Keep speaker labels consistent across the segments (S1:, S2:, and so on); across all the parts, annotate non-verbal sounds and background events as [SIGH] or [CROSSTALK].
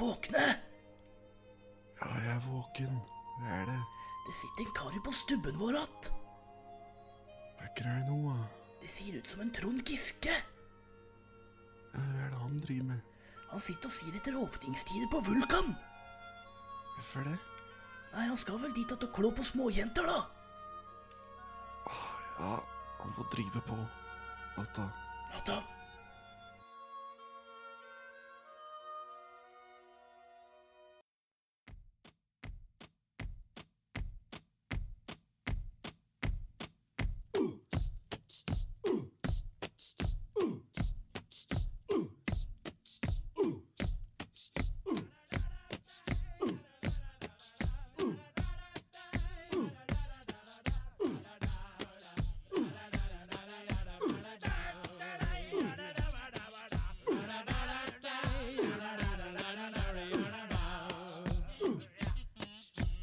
S1: våkne!
S2: Ja, jeg er våken. Det er det.
S1: Det sitter en kar på stubben vår att.
S2: Vekker er det nå, da?
S1: Det ser ut som en Trond Giske.
S2: Ja, Hva er det han driver med?
S1: Han sitter og sier etter åpningstider på Vulkan.
S2: Hvorfor det?
S1: Nei, han skal vel dit at å klå på småjenter, da.
S2: Ja, han får drive på. Natta.
S1: Ja da.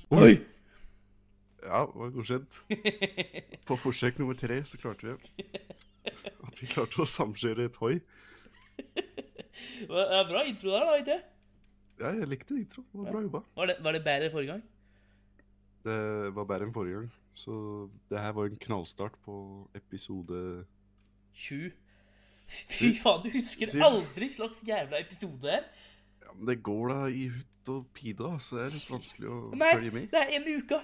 S1: Oi!
S2: Ja, det var godkjent. På forsøk nummer tre så klarte vi at vi klarte å samkjøre et hoi.
S3: Det var bra intro der, da. ikke det?
S2: Ja, jeg likte intro. Det var bra jobba.
S3: Var det, var det bedre forrige gang?
S2: Det var bedre enn forrige gang. Så det her var en knallstart på episode
S3: Sju. Fy faen, du husker
S2: Syv.
S3: aldri slags jævla episode her.
S2: Ja, men det går da i hutt og pida, så det er litt vanskelig å
S3: Nei,
S2: følge med.
S3: det er en uke.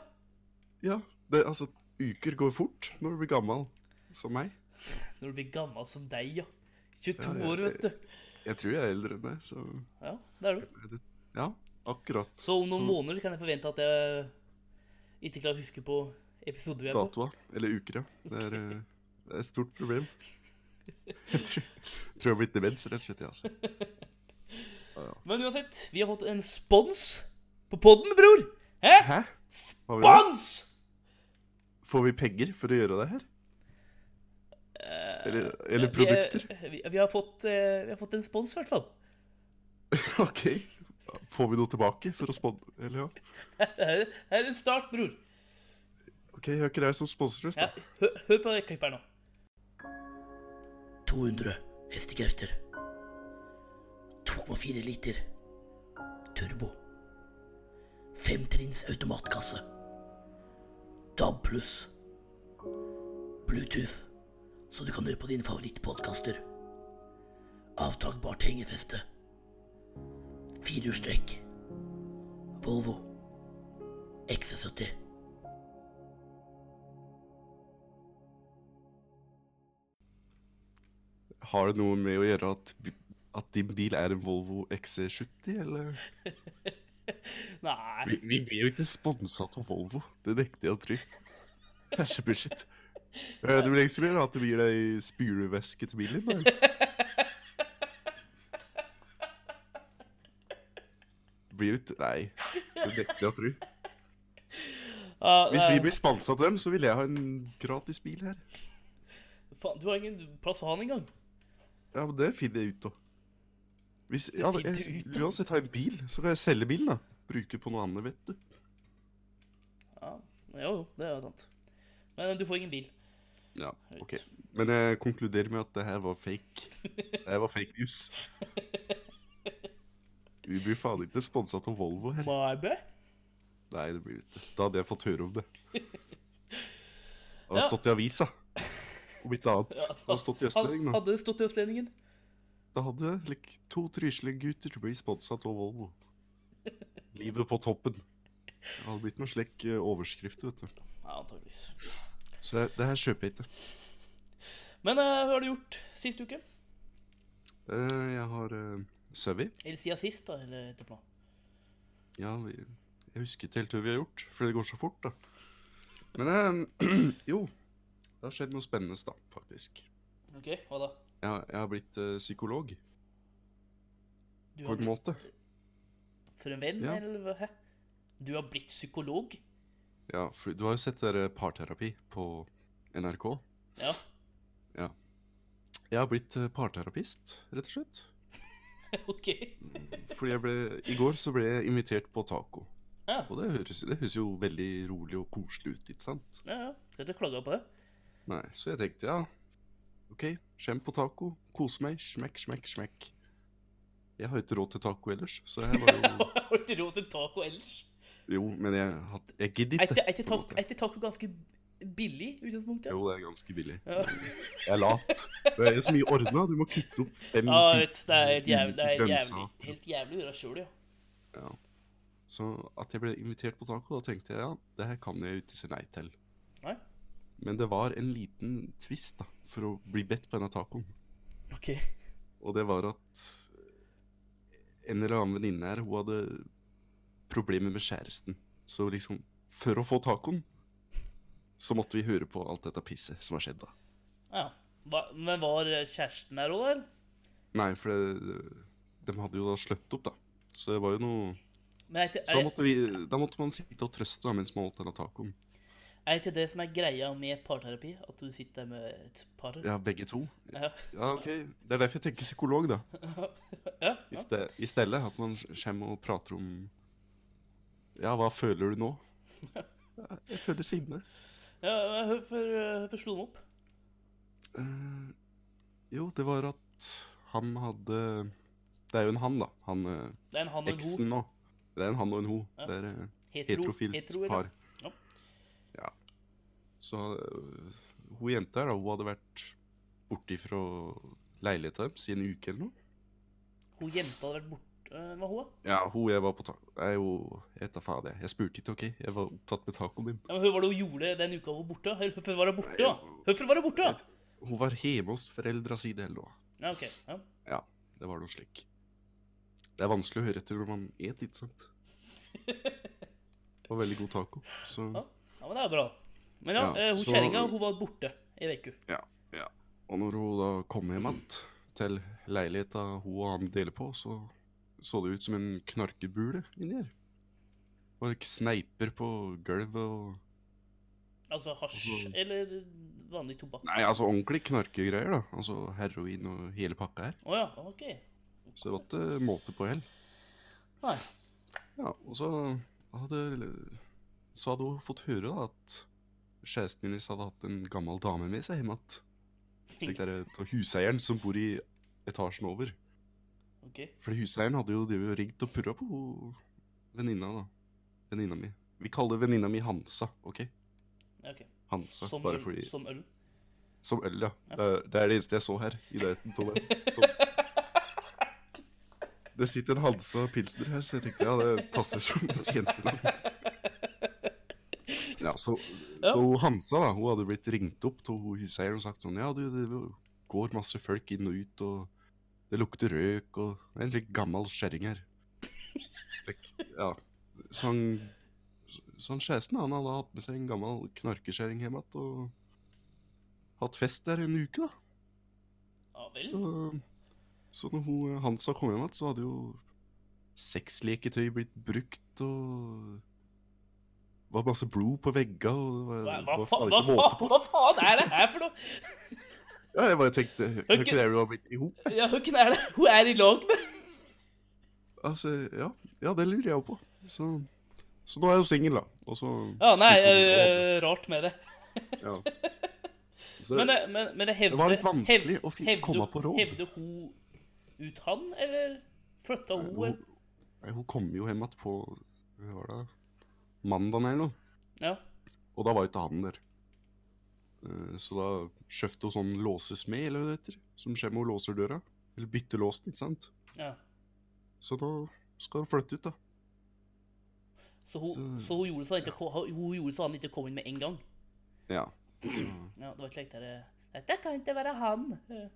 S2: Ja, det, altså, uker går fort når du blir gammel, som meg.
S3: Når du blir gammel som deg, ja. 22
S2: Ja,
S3: år,
S2: jeg-
S3: vet du.
S2: Jeg tror jeg er eldre enn det, så
S3: Ja, det er du.
S2: ja, akkurat.
S3: Så om noen måneder så kan jeg forvente at jeg ikke klarer å huske på episoder vi er på.
S2: Datoa, eller uker, ja. Det er, eh, det er et stort problem. Jeg tror, tror jeg har blitt demens, rett og slett, jeg, altså.
S3: Men uansett, vi har fått en spons på podden, bror. Hæ?
S2: Hæ? Har vi det?
S3: Spons!
S2: Får vi penger for å gjøre det her? Eller, eller
S3: Vi er-
S2: produkter?
S3: Eh,
S2: [LAUGHS]
S3: Vi, vi, har fått, eh, vi har fått en spons, i hvert fall. [LAUGHS]
S2: Ok. Får vi noe tilbake for å sponde? Eller ja.
S3: Det er, det er en start, bror.
S2: Ok, jeg har ikke deg som sponsor,
S3: Ja,
S2: da.
S3: hør, hør på det klippet her nå.
S1: 200 hestekrefter. 2,4 liter. Turbo. Femtrinns automatkasse. DAB pluss. Bluetooth, så du kan høre på dine favorittpodkaster. Avtakbart hengefeste. Firehjulstrekk. Volvo. E XC70.
S2: Har det noe med å gjøre at, bi- at din bil er en Volvo XC70, eller?
S3: Nei.
S2: Vi, vi blir jo ikke sponsa av Volvo. Det nekter jeg å tro. Det er så bullshit. Eh, Det blir ikke så mye da, at det blir ei spylevæske til bilen din. da. Blir jo ikke Nei, det nekter jeg å tro.
S3: Ja,
S2: Hvis
S3: Ah, nei.
S2: vi blir sponsa av dem, så vil jeg ha en gratis bil her.
S3: Faen, du har ingen plass å ha den engang.
S2: Ja, men det finner jeg ut av. Hvis, ja,
S3: finner
S2: jeg,
S3: du ut av?
S2: uansett har jeg en bil, så kan jeg selge bilen, da. Bruke på noe annet, vet du.
S3: Ja, jo, jo, det er jo sant. Men eh, du får ingen bil.
S2: Ja, ok. Men jeg konkluderer med at det her var fake. Det her var fake news.
S3: [LAUGHS]
S2: Vi blir faen ikke sponsa av Volvo her.
S3: Marbø?
S2: Nei, det blir vi ikke. Da hadde jeg fått høre om det. Det hadde
S3: Ja.
S2: stått i avisa. Om ikke annet.
S3: Ja.
S2: Det hadde stått i Østlendingen. da.
S3: Hadde det stått i Østlendingen?
S2: Da hadde like, to Tryslinggutter blitt sponsa av Volvo. Livet på toppen. Det hadde blitt noen slik eh, overskrift, vet du.
S3: Ja, antageligvis.
S2: Så det, det her kjøper jeg ikke.
S3: Men eh, hva har du gjort sist uke?
S2: Eh, Jeg har uh, Søvi.
S3: Eller siden sist, da, eller etterpå?
S2: Ja, vi, jeg husker ikke helt hva vi har gjort, fordi det går så fort, da. Men eh, [CLEARS THROAT] jo, det har skjedd noe spennende, da, faktisk.
S3: Ok, hva da?
S2: Jeg, har- jeg har blitt eh, psykolog,
S3: Du
S2: på
S3: har
S2: en
S3: blitt
S2: måte.
S3: for en venn,
S2: Ja.
S3: eller hva? Hæ? Du har blitt psykolog? [LAUGHS]
S2: Ja, for du har jo sett det der eh, parterapi på NRK.
S3: Ja.
S2: Jeg har blitt eh, parterapist, rett og slett.
S3: Ok.
S2: Fordi jeg ble, i går så ble jeg invitert på taco.
S3: Ja,
S2: Og det høres, det høres jo veldig rolig og koselig ut, ikke sant?
S3: ja, ja. Skal ikke klage på det.
S2: Nei, så jeg tenkte, ja, ok, skjem på taco, kose meg, smekk, smekk, smekk. Jeg har ikke råd til taco ellers, så jeg var jo
S3: [LAUGHS] Har du ikke råd til taco ellers?
S2: Jo, men jeg, had- jeg gidder
S3: Er
S2: ikke.
S3: ikke- er ikke taco, er ikke taco ganske billig i utgangspunktet?
S2: Jo, det er ganske billig.
S3: Ja.
S2: Jeg er lat. Det er jo så mye ordna. Du må kutte opp fem
S3: Ja,
S2: Mm, ti-
S3: vet, du, det er helt jævlig, det er helt
S2: Grønnsaker.
S3: jævlig, helt jævlig å gjøre sjøl, ja.
S2: Ja. Så at jeg ble invitert på taco, da tenkte jeg ja, det her kan jeg jo ikke si nei til.
S3: Nei?
S2: Men det var en liten twist da, for å bli bedt på denne tacoen.
S3: OK.
S2: Og det var at en eller annen venninne her, hun hadde problemer med kjæresten. Så liksom, for å få tacoen, så måtte vi høre på alt dette pisset som har skjedd da.
S3: Ja. Hva, men var kjæresten der òg, eller?
S2: Nei, for det, de hadde jo da sløtt opp da. Så det var jo noe...
S3: Men er ikke,
S2: Så da
S3: er,
S2: måtte, vi, da måtte man sitte og trøste da, mens man holdt denne tacoen.
S3: er ikke det som er greia med parterapi? At du sitter med et par?
S2: Ja, begge to.
S3: Ja.
S2: Ja, ok. Det er derfor jeg tenker psykolog, da.
S3: [LAUGHS] ja,
S2: I,
S3: ja.
S2: ste i stedet. At man kommer og prater om Ja, hva føler du
S3: [LAUGHS]
S2: nå? Ja, Jeg føler sinne.
S3: ja men Hvorfor hvorfor slo de opp?
S2: Eh, jo, det var at han hadde Det er jo en han, da. Han eh,
S3: Det er en han og en ho.
S2: eksen nå. Det er en han og en ho.
S3: Ja.
S2: Det er eh,
S3: Hetero.
S2: heterofilt
S3: hetero, eller?
S2: par.
S3: Ja.
S2: Ja. Så øh, hun jenta her, da, hun hadde vært borte fra leiligheta deres i en uke eller noe.
S3: Hun jenta hadde vært borte eh, Hva hun da?
S2: Ja, hun jeg var på taco Jeg er jo Jeg vet da faen, jeg. Jeg spurte ikke, OK? Jeg var opptatt med tacoen din.
S3: Ja, men Hva var det hun gjorde den uka hun var borte? Eller Hvorfor var hun borte? da?
S2: Nei,
S3: Hvorfor var hun borte? da?
S2: Hun var hjemme hos foreldra sine eller noe.
S3: Ja, OK. Ja.
S2: Ja, det var noe slik. Det er vanskelig å høre etter når man et, ikke sant? Det var veldig god taco, så
S3: Ja. ja, men det er bra. Men ja,
S2: Ja,
S3: eh, hun
S2: så-
S3: kjerringa hun var borte ei uke.
S2: Ja, ja. Og når hun da kom hjem igjen til leiligheta hun og han deler på, så så det ut som en knarkebule inni her. Det var ikke sneiper på gulvet og
S3: Altså hasj
S2: Altså-
S3: eller vanlig tobakk.
S2: Nei, altså ordentlig knarkegreier, da. Altså heroin og hele pakka her.
S3: Å ja, OK.
S2: Så det var ikke måte på hell.
S3: Nei.
S2: Ja, og så hadde Så hadde hun fått høre da at kjæresten hennes hadde hatt en gammel dame med seg hjem igjen. Slik der av huseieren som bor i etasjen over.
S3: OK.
S2: Fordi husleieren hadde jo drevet og ringt og purra på ho- venninna, da. Venninna mi. Vi kaller venninna mi Hansa, OK?
S3: ja, ok.
S2: Hansa,
S3: Som,
S2: bare
S3: øl,
S2: fordi
S3: som øl.
S2: Som øl, ja.
S3: Ja.
S2: Det, er, det er det eneste jeg så her. i nærheten av meg. Som... Det sitter en Hansa Pilsner her, så jeg tenkte ja, det passer som et jentenavn. Ja, så, så Hansa da, hun hadde blitt ringt opp til huseieren og sagt sånn Ja, du, det går masse folk inn og ut, og det lukter røyk, og det er en litt gammel skjæring her. Ja. Så han, så han kjæresten, han hadde hatt med seg en gammel knarkeskjæring hjem igjen og hatt fest der en uke, da.
S3: Ja vel.
S2: Så, eh, så når hun, eh, Hansa kom hjem igjen, så hadde jo sexleketøy blitt brukt, og det var masse blod på veggene, og det
S3: Hva,
S2: var,
S3: hva,
S2: det var
S3: fa
S2: faen
S3: hva,
S2: ikke måte
S3: fa
S2: på.
S3: hva faen er det her for noe?
S2: Ja, jeg bare tenkte Hvem er det du har blitt i hop?
S3: Ja, Hvem er det hun er i lag med?
S2: Altså, ja, ja, det lurer jeg jo på. Så, så nå er jeg jo singel, da. Og så
S3: Ja, nei,
S2: spurte hun om
S3: eh, rart med det.
S2: råd,
S3: [LAUGHS]
S2: ja. Så
S3: Men, det- men, men det hevde
S2: det var litt vanskelig
S3: hev-
S2: å fin-
S3: hevde-
S2: komme på råd.
S3: Hevde hun ut han, eller flytta hun?
S2: Eh, hun,
S3: eller?
S2: nei, hun kom jo hjem igjen på hva var det, mandagen eller noe.
S3: Ja.
S2: Og da var ikke han der. Eh, Så da kjøpte hun sånn låsesmed, eller hva det heter, som kommer og låser døra. Eller bytter låsen, ikke sant.
S3: ja.
S2: Så da skal hun flytte ut, da.
S3: Så hun,
S2: Så-
S3: så hun gjorde så han ikke, ko- hun gjorde så han ikke kom inn med en gang?
S2: Ja.
S3: Ja, det var ikke like der Dette kan ikke være han. Det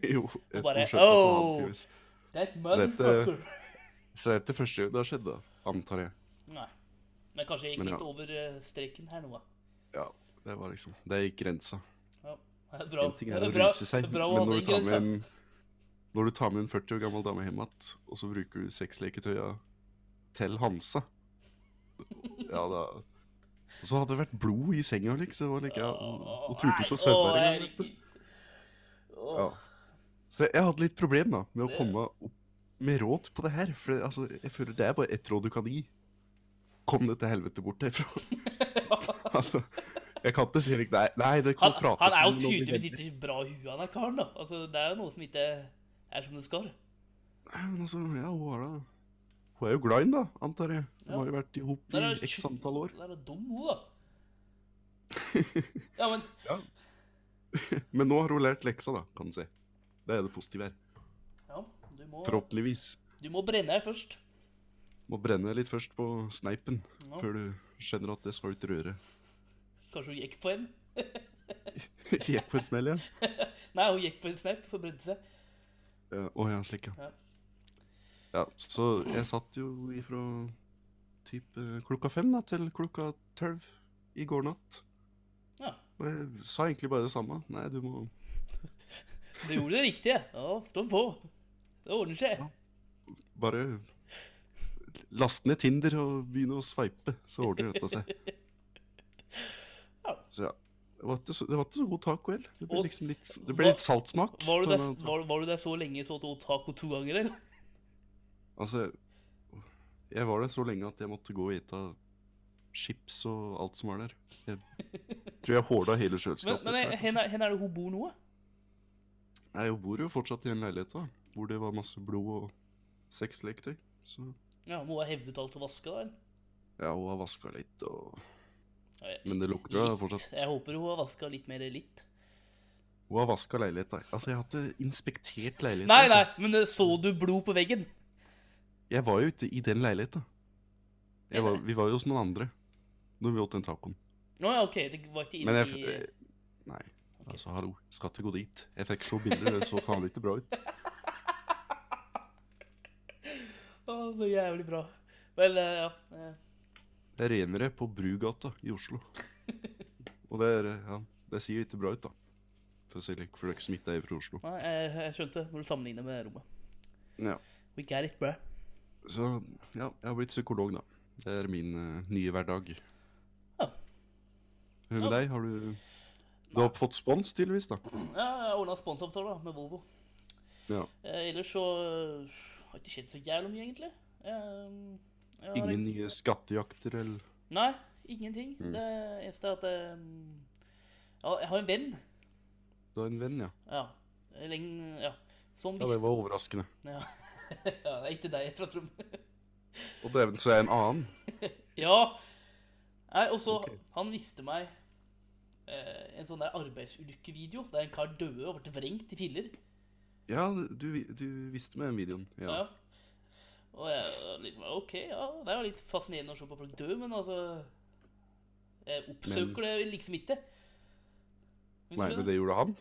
S2: [LAUGHS] jo. et-
S3: bare,
S2: hun skjønte at det var han,
S3: «Oh!»
S2: tydeligvis.
S3: er et
S2: dette-
S3: motherfucker.
S2: Så det er det første det har skjedd, da. Antar jeg.
S3: Nei. Men kanskje jeg gikk
S2: Men ja.
S3: litt over eh, streken her nå, da.
S2: Ja. Det var liksom Det gikk grensa.
S3: Ja. Det er Bra.
S2: En ting er
S3: Det
S2: å
S3: er bra-
S2: ruse seg,
S3: det er
S2: men
S3: bra å ha
S2: når du
S3: den
S2: tar med
S3: grensen.
S2: en når du tar med en 40 år gammel dame hjem igjen, og så bruker du sexleketøya til Hansa Ja, da Og så hadde det vært blod i senga, liksom. Og, like, ja, og, og turte ikke å sove
S3: Åh,
S2: her engang. vet du.
S3: herregud. Åh.
S2: Ja. Så jeg hadde litt problem da med å komme opp med råd på det her. For det, altså, jeg føler det er bare ett råd du kan gi. Kom deg til helvete
S3: [LAUGHS]
S2: bort herfra. altså, jeg kan ikke si like Nei, nei det kan
S3: Han,
S2: prate
S3: han er jo
S2: som noen
S3: tydeligvis
S2: venner.
S3: ikke bra i huet, han der karen, da. Altså, det er jo noe som ikke er som det skal.
S2: Nei, men altså, ja, hun har da Hun er jo glad i ham, da, antar jeg. Hun
S3: Ja.
S2: har jo vært i hop
S3: Der er
S2: i x
S3: tju-
S2: antall år.
S3: Der er dum hun, da.
S2: [LAUGHS]
S3: Ja, men
S2: Men nå har hun lært leksa, da, kan du si. Det er det positive her.
S3: ja, du, må,
S2: Forhåpentligvis.
S3: du må brenne her først.
S2: Må brenne litt først på sneipen,
S3: Ja.
S2: før du skjønner at det skal ut i [LAUGHS] røret.
S3: Kanskje hun gikk på en?
S2: Gikk på en smell, ja.
S3: Nei, hun gikk på en snap for å brenne seg.
S2: Ja, Å ja, slik,
S3: Ja.
S2: ja. Ja, så jeg satt jo ifra typ eh, klokka fem da, til klokka tølv i går natt.
S3: Ja.
S2: Og jeg sa egentlig bare det samme. Nei, du må
S3: Du gjorde det riktige. Ja, stå på. Det ordner seg.
S2: bare laste ned Tinder og begynne å sveipe, så ordner dette seg.
S3: Ja.
S2: Så ja. Det var ikke så, det var ikke så god taco heller. Det ble
S3: Og-
S2: liksom litt, det ble litt saltsmak.
S3: Var du,
S2: på
S3: der,
S2: den-
S3: var, var du der så lenge så at hun taco to ganger, eller?
S2: Altså, jeg var der så lenge at jeg måtte gå og ete chips og alt som var der. Jeg tror jeg hårda hele
S3: Men,
S2: kjøleskapet.
S3: men
S2: etter hvert,
S3: hen, er, hen er det hun bor nå? da?
S2: altså. Nei, Jeg bor jo fortsatt i en leilighet da, hvor det var masse blod og sexleketøy. Så
S3: Ja, Må ha hevdet alt og vaska, da? eller?
S2: ja, hun har vaska litt, og...
S3: Ja, jeg-
S2: men det lukter da
S3: Litt. Jeg
S2: fortsatt.
S3: håper hun har vaska litt mer litt.
S2: Hun har vaska leilighet da. Altså, jeg har ikke inspektert leiligheten.
S3: Nei, nei,
S2: altså.
S3: men eh, så du blod på veggen?
S2: Jeg var jo ikke i den leiligheten. Jeg Var, vi var jo hos noen andre når vi åt den tacoen.
S3: Å ja, OK. Det var ikke
S2: Men
S3: inne
S2: jeg
S3: i
S2: eh, Nei. Altså, hallo. Skal ikke gå dit. Jeg fikk se bilder, det så faen ikke bra ut.
S3: Å, så jævlig bra. Vel, eh, ja. eh,
S2: Det er renere på Brugata i
S3: [LAUGHS]
S2: Oslo. Og det er eh, Ja, det sier ikke bra ut, da. For å si det for dere som ikke er fra Oslo.
S3: Nei, jeg, jeg skjønte når du sammenligner med rommet.
S2: Ja.
S3: We get it, bro.
S2: Så ja, jeg har blitt psykolog, da. Det er min eh, nye hverdag.
S3: Ja.
S2: Hva med
S3: Ja.
S2: deg? Har du Du har fått spons, tydeligvis, da.
S3: Ja, jeg ordna sponsavtale da, med Volvo.
S2: Ja.
S3: Eh, ellers så eh, har det ikke skjedd så jævlig mye, egentlig. Eh, jeg har
S2: Ingen
S3: ikke-
S2: nye skattejakter eller
S3: Nei, ingenting.
S2: Mm.
S3: Det eneste er at eh, ja, Jeg har en venn.
S2: Du har en venn, ja.
S3: Ja. Lenge, ja. Som
S2: Ja, Det
S3: visste
S2: var overraskende.
S3: [LAUGHS] ja. ja, det er ikke deg fra Trond.
S2: Og dæven, så er jeg en annen.
S3: ja. Nei, og så
S2: Ok.
S3: Han viste meg eh, en sånn der arbeidsulykkevideo der en kar døde og ble vrengt i filler.
S2: Ja, du, vi- du visste med den videoen.
S3: Ja.
S2: Ja.
S3: Og jeg liksom OK, ja. Det er jo litt fascinerende å se på folk dø, men altså Jeg oppsøker det liksom ikke. Hvis
S2: Nei,
S3: du-
S2: men det gjorde han.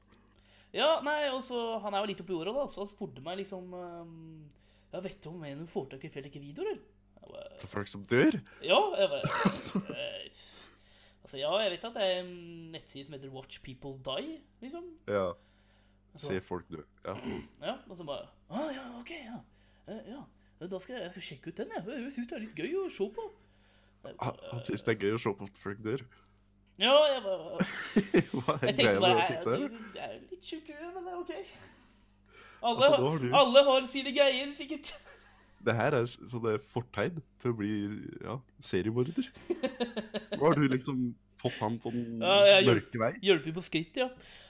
S3: Ja, nei, og så Han er jo litt oppi åra, da, så han spurte meg liksom ehm, Ja, vet du om en du får tak i flere like videoer, eller? Jeg bare,
S2: Så folk som dør?
S3: ja, jeg bare
S2: [LAUGHS]
S3: eh, Altså, ja, jeg vet at det er en nettside som heter Watch People Die, liksom.
S2: Ja.
S3: Så-
S2: Se folk dø. Ja.
S3: Ja, og så bare Å ah, ja, OK, ja. Eh, ja. Da skal jeg, jeg skal sjekke ut den, jeg. Jeg syns det er litt gøy å se på. Jeg
S2: Han,
S3: bare,
S2: han synes det er gøy å se på at folk dør. [LAUGHS]
S3: Ja, jeg bare
S2: Hva er [LAUGHS]
S3: Jeg tenkte
S2: greia med
S3: bare
S2: det?
S3: jeg,
S2: tenkte jeg?
S3: jeg, er jo litt sjuk, men det er OK. Alle,
S2: Altså,
S3: har-
S2: nå har du-
S3: alle har sine greier, sikkert. [LAUGHS]
S2: Det her er s- sånne fortegn til å bli ja, seriemorder. Nå har du liksom fått han på den
S3: Ja, jeg gjør-
S2: mørke vei.
S3: Hjelper på skrittet, ja.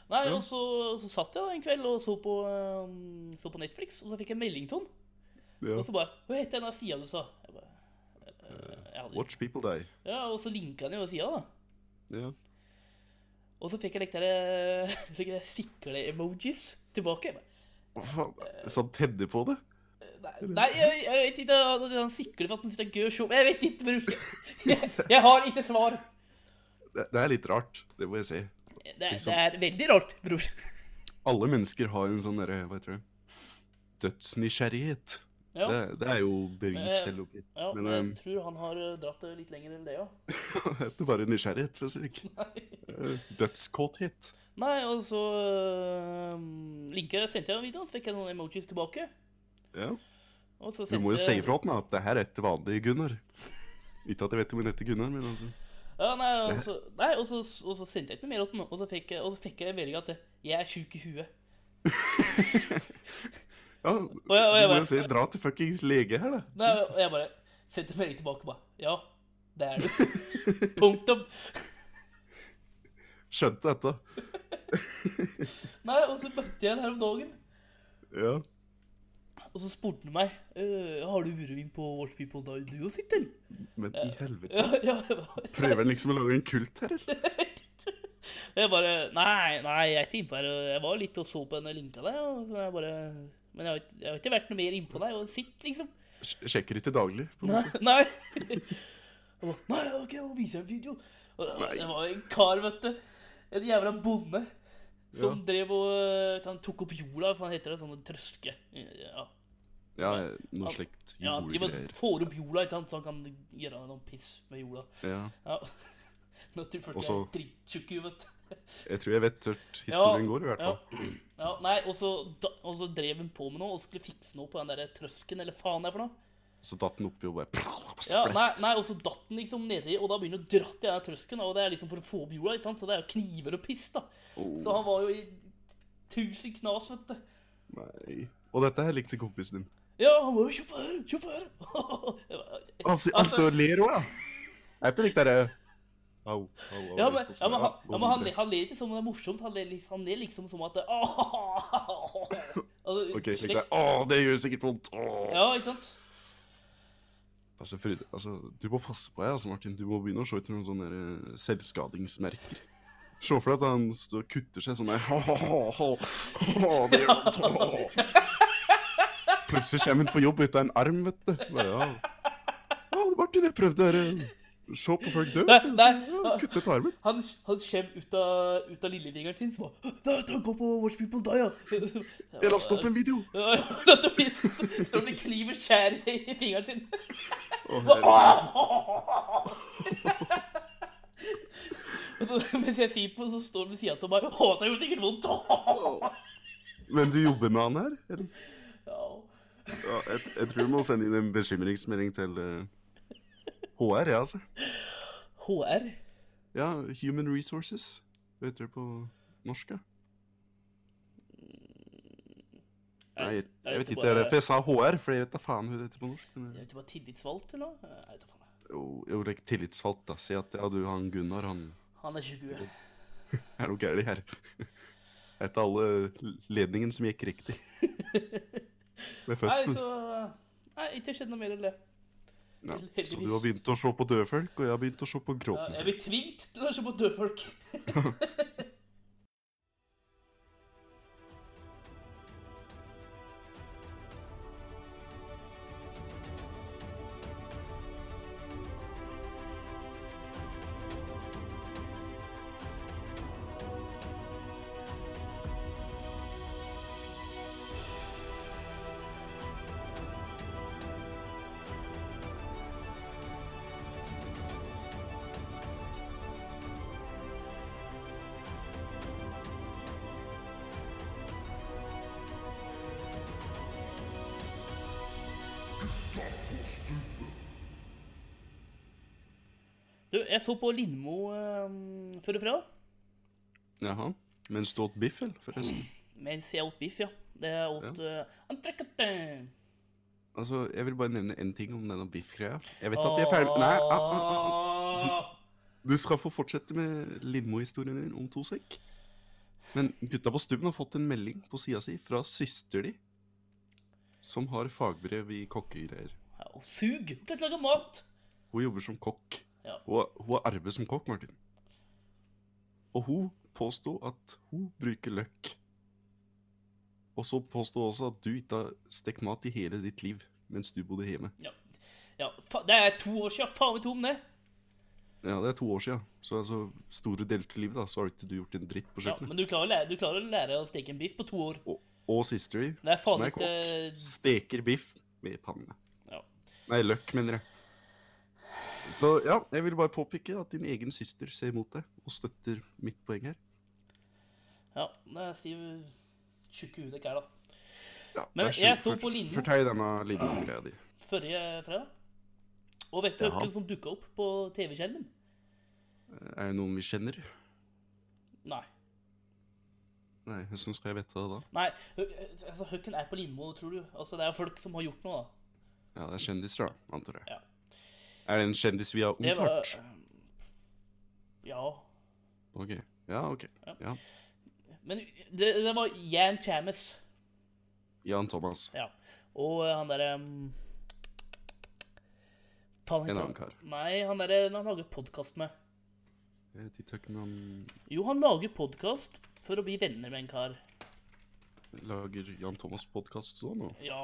S3: Nei,
S2: Ja.
S3: og så, så satt jeg da en kveld og så på, ehm, så på Netflix, og så fikk jeg en melding til han.
S2: Ja.
S3: Og så bare Hva heter den der sida du sa? Jeg bare, «Eh, jeg hadde-
S2: Watch people die.
S3: ja, og så linka han jo sida, da.
S2: Ja.
S3: Og så fikk jeg litt der, eh, [LAUGHS] slik der sikle-emojis tilbake. Jeg bare,
S2: Hva faen? Så han tedde på det?
S3: Nei, nei jeg, jeg vet ikke. Han han sikler for at han synes det er gøy å se Jeg vet ikke, bror. Jeg, jeg har ikke svar.
S2: det? Det er litt rart, det må jeg si.
S3: Det, er-
S2: Liksom.
S3: det er veldig rart, bror.
S2: Alle mennesker har en sånn derre, hva heter det, dødsnysgjerrighet.
S3: Ja,
S2: Det, det er jo bevist
S3: Men-
S2: til oppi.
S3: ja,
S2: men,
S3: men jeg
S2: ehm,
S3: tror han har eh, dratt det litt lenger enn det, ja.
S2: [LAUGHS] Det er ikke bare nysgjerrighet, for å si det ikke. Eh, Dødskåthet.
S3: Nei, og så øhm, linket sendte jeg en video, så fikk jeg noen emojis tilbake.
S2: Ja.
S3: Og så
S2: Du må jo
S3: sendte-
S2: si ifra til meg at det her er ikke vanlig Gunnar. Ikke at jeg vet om hun heter Gunnar, men altså
S3: Ja, nei, og så, nei og, så, og så sendte jeg ikke noe mer til den, og så fikk jeg, og så fikk jeg en melding at jeg er sjuk i huet.
S2: Ja,
S3: jeg- og jeg
S2: du må
S3: bare-
S2: jo si dra til fuckings lege her,
S3: Nei,
S2: da.
S3: og jeg bare sendte en melding tilbake bare Ja, det
S2: [LAUGHS]
S3: er du. Punktum.
S2: Jesus. Skjønte dette.
S3: Nei, og så møtte jeg den her om dagen.
S2: Ja.
S3: Og så spurte han meg «Eh, har du vært med på Watch People Die, du også, Sittel?
S2: Men i helvete.
S3: Ja, ja, jeg bare-
S2: Prøver han liksom å lage en kult her, eller?
S3: jeg bare Nei, nei, jeg er ikke innpå her. og Jeg var litt og så på den og linka deg, og så jeg bare Men jeg har, ikke- jeg har ikke vært noe mer innpå deg. Og sitt, liksom.
S2: Sj- Sjekker ikke daglig. på en
S3: Nei.
S2: måte.
S3: nei. Jeg bare, nei, OK, nå viser jeg en video. Og det var-
S2: Nei.
S3: det var en kar, vet du. En jævla bonde. Som
S2: Ja.
S3: drev og Han tok opp jorda, for han heter det sånn trøske. Ja,
S2: Ja, noe slikt
S3: ja de bare
S2: julegreier.
S3: får opp jorda, ikke sant, så han kan gjøre noe piss med jorda.
S2: Ja.
S3: Ja. [LAUGHS] Nå tror folk
S2: Og
S3: jeg er
S2: så-
S3: drittjukke, vet du.
S2: Jeg tror jeg vet hvor historien går, i hvert fall.
S3: Ja. Ja, nei, og så, da, og så drev hun på med noe og skulle fikse noe på den der trøsken, eller faen det er for noe.
S2: Så datt den oppi og [LAUGHS] bare
S3: Ja,
S2: splett.
S3: nei, nei, og så datt den liksom nedi, og da begynner hun å dratt i den der trøsken, og det er liksom for å få opp jorda, ikke sant? Så det er jo kniver og piss, da.
S2: Åh,
S3: Så han var jo i tusen knas, vet du.
S2: nei. Og dette her likte
S3: [LAUGHS]
S2: kompisen din.
S3: Ja, han var jo Altså, kjøp her, kjøp
S2: [LAUGHS]
S3: her. Jeg bare,
S2: Han s- han står og ler òg, ja. Er ikke det der eh, Au, au, au.
S3: Ja, men,
S2: og så-
S3: ja, men, han, ja, men han,
S2: og-
S3: han ler ikke som om det er morsomt, han ler, liksom- han ler liksom som at det, [LAUGHS] altså,
S2: Ok, slik
S3: slik-
S2: det. Å, det gjør sikkert vondt. Å.
S3: Ja, ikke sant?
S2: Altså, Frode, altså, du må passe på deg, altså, Martin. Du må begynne å se etter noen sånne der, eh, selvskadingsmerker. Se for deg at han står og kutter seg sånn der «Hahaha, det gjør vondt, åh». Plutselig kommer han på jobb uten en arm, vet du. Bare, ja. ja, Martin, jeg prøvde eh, å se på folk dø. vet du,
S3: Nei,
S2: så,
S3: nei.
S2: ja, Kutte ut armen.
S3: Han, han kommer ut av, ut av lillefingeren sin og bare Da, gå på Watch People Die, ja! [LAUGHS]
S2: Jeg lastet opp en video.
S3: Ja, la oss opp en Så står han med kniv og skjær i fingeren sin. [LAUGHS]
S2: Å, herregud.
S3: Og så- Mens jeg sier på, så står han ved sida av meg. Å, det gjorde sikkert vondt! [LAUGHS]
S2: Men du jobber med han her? Eller?
S3: Ja.
S2: Ja, jeg, jeg tror du må sende inn en bekymringsmelding til eh, HR, ja, altså.
S3: HR?
S2: Ja, Human Resources. Hva heter det på norsk? Ja? Nei, jeg, jeg vet ikke. Det er derfor jeg sa HR, for jeg vet da faen hva det heter på norsk. Men,
S3: Jeg
S2: eh,
S3: vet ikke, bare tillitsvalgt eller noe? Jeg vet da faen.
S2: jo, jo, det er ikke tillitsvalgt, da. Si at ja, du, han Gunnar, han
S3: Han er 20.
S2: er noe gærent her. [LAUGHS] Etter alle ledningen som gikk riktig. [LAUGHS] Med
S3: Nei,
S2: fødsel.
S3: så Nei, ikke skjedd noe mer enn det.
S2: Ja,
S3: heldigvis.
S2: så du har begynt å se på døde folk, og jeg har begynt å se på
S3: Ja,
S2: gråtende
S3: jeg blir tvunget til å se på døde folk. Du, jeg så på Lindmo um, før i fredag,
S2: Jaha. Mens du åt biff, eller? Forresten. [CLEARS THROAT]
S3: mens jeg åt biff, ja. Det jeg åt eh, entrecôte.
S2: Altså, jeg vil bare nevne én ting om denne biff-greia. Jeg vet at jeg er ferdig Nei, ah, ah, ah. du skal få fortsette med Lindmo-historien din om to sekk. Men gutta på stubben har fått en melding på sida si fra søster di, som har fagbrev i kokkegreier.
S3: Ja, og sug! Hvordan lage mat?
S2: Hun jobber som kokk.
S3: Ja.
S2: Hun, hun har arbeid som kokk, Martin. Og hun påsto at hun bruker løk. Og så påsto hun også at du ikke har stekt mat i hele ditt liv mens du bodde hjemme.
S3: Ja, ja fa det er to år siden. Faen, vi tom det.
S2: Ja, det er to år siden. Så altså, store deler til livet, da, så har ikke du gjort en dritt på
S3: Ja,
S2: kjøkkenet.
S3: men du klarer, å lære, du klarer å lære å steke en biff på to år.
S2: Og, og sister di,
S3: Det er faen
S2: som er
S3: ikke
S2: kokk, steker biff med panne.
S3: Ja.
S2: Nei, løk, mener jeg. Så ja, jeg vil bare påpeke at din egen søster ser imot deg og støtter mitt poeng her.
S3: Ja, det er stiv tjukke hudekk her, da.
S2: Ja,
S3: Men
S2: vær så
S3: jeg
S2: god,
S3: så
S2: fort-
S3: på Lindmo.
S2: Fortell denne Lindmo-greia di.
S3: Forrige fredag. Og vet du
S2: Jaha.
S3: hvem som dukka opp på TV-skjermen?
S2: Er det noen vi kjenner?
S3: Nei.
S2: Nei, hvordan skal jeg vite det da?
S3: Nei, hø- hø- altså, Høkken er på Lindmo, tror du. Altså, Det er folk som har gjort noe, da.
S2: Ja, det er kjendiser, da, antar jeg.
S3: Ja.
S2: Er det en kjendis vi har
S3: Det var
S2: omtalt?
S3: Ja.
S2: Ok. Ja, ok.
S3: Ja.
S2: Ja.
S3: Men det, det var Jan Chames.
S2: Jan Thomas.
S3: Ja. Og eh, han derre um, Faen,
S2: En
S3: heter
S2: annen
S3: han
S2: kar.
S3: Nei, han derre han lager podkast med.
S2: Jeg vet ikke om han
S3: Jo, han lager podkast for å bli venner med en kar.
S2: lager Jan Thomas-podkast så nå.
S3: Ja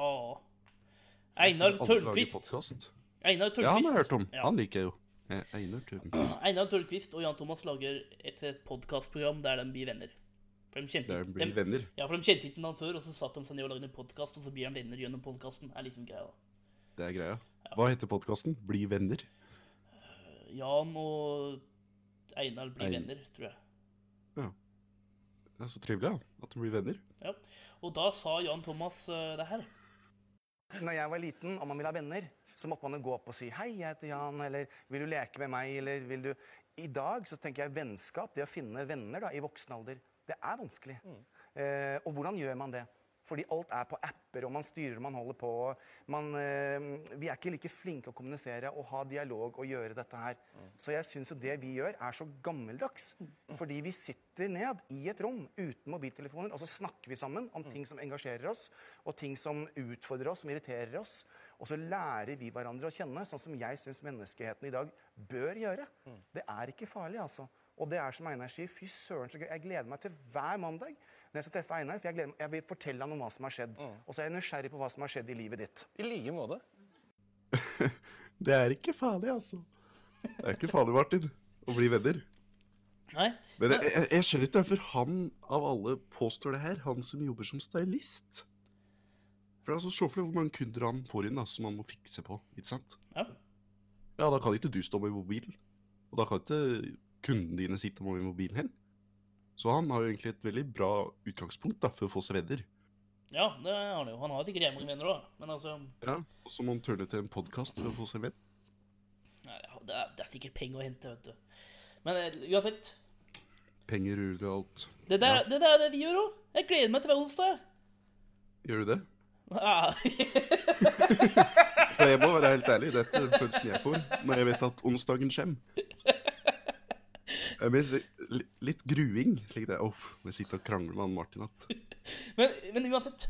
S3: Einar
S2: Alle lager
S3: Tørnquist.
S2: podcast.
S3: Einar Tørnquist.
S2: Ja, han har jeg hørt om.
S3: Ja.
S2: Han liker jeg jo. Eh, Einar Tørnquist.
S3: Einar Tørnquist og Jan Thomas lager et podkastprogram der de blir venner. For de kjente,
S2: Der
S3: ikke,
S2: blir
S3: de,
S2: vi venner.
S3: ja, for de kjente ikke han før, og så satt de seg ned og lagde en podkast, og så blir de venner gjennom podkasten. er liksom greia.
S2: Det er greia. Hva heter podkasten? Bli venner?
S3: Jan og Einar blir
S2: Ein-
S3: venner, tror jeg.
S2: Det er så trivelig, ja. At de blir venner.
S3: Ja. Og da sa Jan Thomas eh, det her.
S4: Når jeg var liten, og man ville ha venner, så måtte man jo gå opp og si hei, jeg heter Jan, eller vil du leke med meg, eller vil du I dag så tenker jeg vennskap, det å finne venner da, i voksen alder, det er vanskelig. Eh, og hvordan gjør man det? Fordi alt er på apper, og man styrer og man holder på. og Man, eh, vi er ikke like flinke å kommunisere og ha dialog og gjøre dette her. Så jeg syns jo det vi gjør, er så gammeldags. Fordi vi sitter ned i et rom uten mobiltelefoner, og så snakker vi sammen om ting som engasjerer oss, og ting som utfordrer oss, som irriterer oss. Og så lærer vi hverandre å kjenne, sånn som jeg syns menneskeheten i dag bør gjøre. Det er ikke farlig, altså. Og det er som Einar sier, fy søren så gøy. Jeg gleder meg til hver mandag når jeg skal treffe Einar, for jeg, gleder meg, jeg vil fortelle han om hva som har skjedd. Og så er jeg nysgjerrig på hva som har skjedd i livet ditt.
S5: I like måte.
S2: Det er ikke farlig, altså. Det er ikke farlig, Martin, å bli venner.
S3: Nei,
S2: Men jeg, jeg, jeg skjønner ikke hvorfor han av alle påstår det her, han som jobber som stylist. For altså, Se for deg hvor mange kunder han får inn da, som han må fikse på. ikke sant?
S3: ja.
S2: Ja, Da kan ikke du stå med mobilen. Og da kan ikke kundene dine sitte med mobilen hen. Så han har jo egentlig et veldig bra utgangspunkt da, for å få seg venner.
S3: ja, det har han jo. Han har sikkert jævlig mange venner òg, men altså
S2: Ja, Og så må han tørne til en podkast for å få seg venn.
S3: nei, det, er, det er sikkert penger å hente, vet du. Men eh, uansett.
S2: Penger ruller og alt.
S3: Det der, det der er det vi gjør òg. Jeg gleder meg til hver onsdag. jeg.
S2: Gjør du det?
S3: Ah,
S2: For jeg må være helt ærlig, dette er den følelsen jeg får når jeg vet at onsdagen kommer. Jeg mener, li- litt gruing. Slik det. Uff, må jeg sitte og krangle med han Martin at
S3: [LAUGHS] men, men uansett.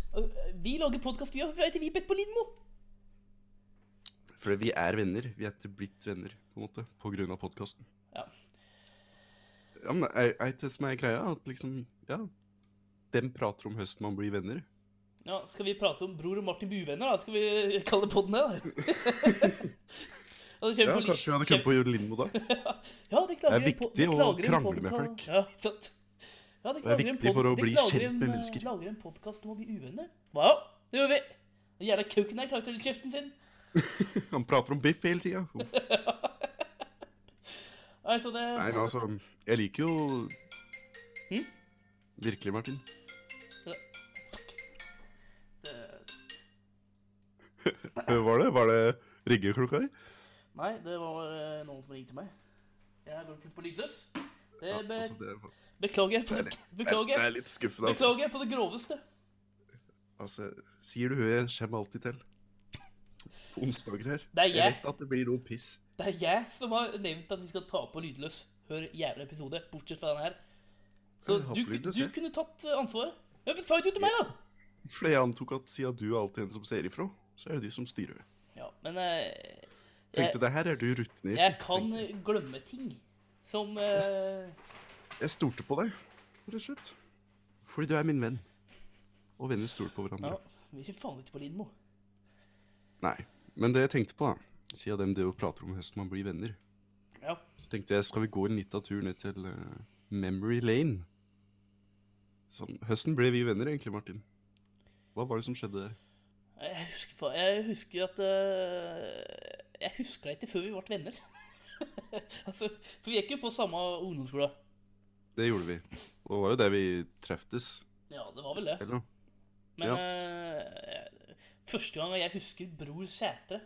S3: Vi lager podkast, vi har for vi bedt på Lindmo.
S2: For vi er venner. Vi er ikke blitt venner, på en måte, på grunn av podkasten.
S3: Ja.
S2: Ja, men er er ikke det som er greia? At liksom, ja Dem prater om høsten man blir venner.
S3: Ja, skal vi prate om Bror og Martin Buvenner, da? Skal vi kalle podden det? da? [LAUGHS] Og så kjører vi
S2: Ja,
S3: på
S2: Kanskje vi hadde
S3: kjører-
S2: kommet på Jørn Lindmo da.
S3: Ja, de klager
S2: Det er
S3: en po-
S2: viktig
S3: de
S2: å
S3: klager en
S2: krangle
S3: podka-
S2: med folk.
S3: Ja, ikke sant? Ja, de
S2: Det er
S3: klager en
S2: viktig for å
S3: de
S2: bli
S3: klager
S2: kjent med
S3: en, eh,
S2: mennesker.
S3: lager en podkast om å bli uvenner. Hva ja, det gjør vi. Den jævla kauken her klager til kjeften sin.
S2: Han prater om biff hele tida.
S3: [LAUGHS] Nei, så det
S2: Nei, men altså Jeg liker jo
S3: Hm?
S2: Virkelig, Martin.
S3: det-
S2: Hva Var det, var det ringeklokka di?
S3: Nei, det var eh, noen som ringte meg. Jeg har lagt litt på lydløs. Det
S2: Ja,
S3: be
S2: altså, det, er-
S3: beklager jeg på det,
S2: det
S3: beklager,
S2: er
S3: jeg-
S2: litt skuffende. Altså.
S3: beklager jeg på det groveste.
S2: altså, sier du hø, jeg kommer alltid til. På onsdager her.
S3: Det er jeg.
S2: Jeg vet at det blir noe piss.
S3: Det er jeg som har nevnt at vi skal ta på lydløs. Hør jævla episode, bortsett fra denne her. Så
S2: Jeg har
S3: du,
S2: på lydløs,
S3: du
S2: jeg.
S3: kunne tatt eh, ansvaret. Ja, men sa ikke du til meg, da?
S2: Fordi jeg antok at siden du er alltid en som ser ifra, så er det de som styrer.
S3: Ja, men eh, jeg,
S2: Tenkte det her er du rutinert.
S3: jeg kan glemme ting som eh,
S2: Jeg stolte på deg, rett og slett. Fordi du er min venn. Og venner stoler på hverandre.
S3: Ja, vi kommer faen ikke på Lindmo.
S2: Nei. Men det jeg tenkte på, da, siden dem det jo prater om høsten man blir venner,
S3: Ja.
S2: så tenkte jeg skal vi gå en liten tur ned til eh, Memory Lane. Sånn, høsten ble vi venner, egentlig, Martin. Hva var det som skjedde der?
S3: Jeg husker, faen- jeg husker at eh, Jeg husker det ikke før vi ble venner. [LAUGHS] altså, for vi gikk jo på samme ungdomsskole.
S2: Det gjorde vi. Og det var jo der vi treftes,
S3: Ja, det var vel det.
S2: eller noe.
S3: Men eh, første gang jeg husker Bror Sætre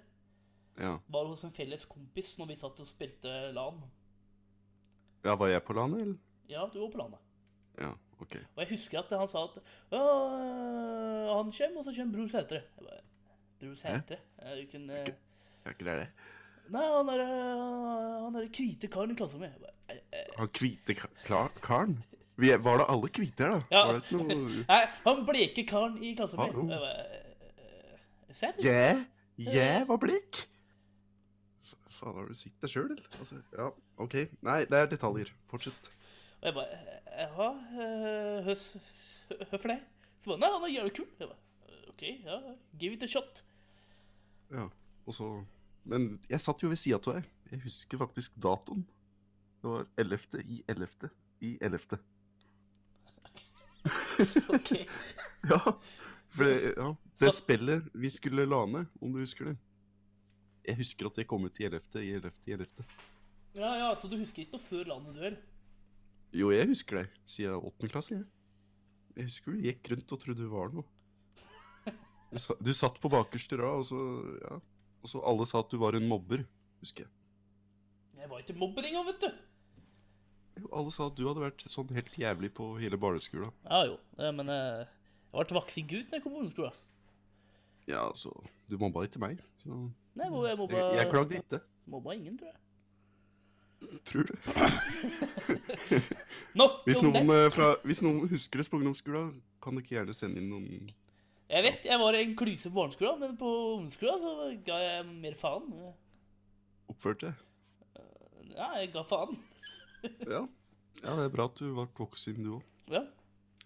S2: Ja.
S3: var hos en felles kompis når vi satt og spilte LAN.
S2: ja, var jeg på landet, eller?
S3: Ja, du var på LAN, da.
S2: Ja, ok.
S3: Og jeg husker at han sa at «Ja, han kommer, og så kommer Bror Sætre. Jeg bare, Bror Sætre? Eh, Hvilken eh,
S2: Jeg er ikke der, det.
S3: Nei, han er eh, han er den hvite karen i klassen min. Jeg bare, «Eh, eh,
S2: Han hvite ka- klar- karen? Vi er, var da alle hvite her, da?
S3: Ja. [LAUGHS]
S2: Var det ikke noe
S3: Nei, han bleke karen i klassen min.
S2: Hallo.
S3: Jeg bare, «Eh, eh, Serr?
S2: Jeg? Jeg var blek? Fa- Faen, har du sett deg sjøl, eller? Altså, ja, OK. Nei, det er detaljer. Fortsett.
S3: Og jeg bare Jaha, øh, høs, hvorfor det? Så bare, Nei, han er jævlig kul. Jeg bare, «Eh, OK, ja, give it a shot. [LAUGHS]
S2: Ja, og så Men jeg satt jo ved sida av deg. Jeg husker faktisk datoen. Det var 11. i 11. i 11.
S3: OK.
S2: [LAUGHS] Ja. For det, ja. det
S3: Satt-
S2: spillet vi skulle la ned, om du husker det. Jeg husker at jeg kom ut i 11. i 11. i 11.
S3: Ja, ja, så du husker ikke noe før landet duell?
S2: Jo, jeg husker det, siden 8. klasse. Jeg. jeg husker du gikk rundt og trodde du var noe. Du, sa, du satt på bakerste rad, og så Ja. Og så alle sa at du var en mobber, husker jeg.
S3: Jeg var ikke mobber engang, vet du.
S2: Jo, alle sa at du hadde vært sånn helt jævlig på hele barneskolen.
S3: Ja jo, eh, men eh, jeg ble voksen gutt da jeg kom på ungdomsskolen.
S2: Ja, altså, du mobba ikke meg. Så
S3: Nei, hvor jeg mobba,
S2: jeg, jeg klagde ikke.
S3: mobba ingen, tror jeg.
S2: Tror du?
S3: Nok
S2: Hvis
S3: om
S2: noen,
S3: det.
S2: eh, fra, hvis noen husker oss på ungdomsskolen, kan dere gjerne sende inn noen
S3: Jeg vet jeg var en klyse på barneskolen, men på ungdomsskolen så ga jeg mer faen.
S2: oppførte.
S3: Ja, jeg ga faen.
S2: Ja. ja, det er bra at du ble voksen, du òg.
S3: Ja.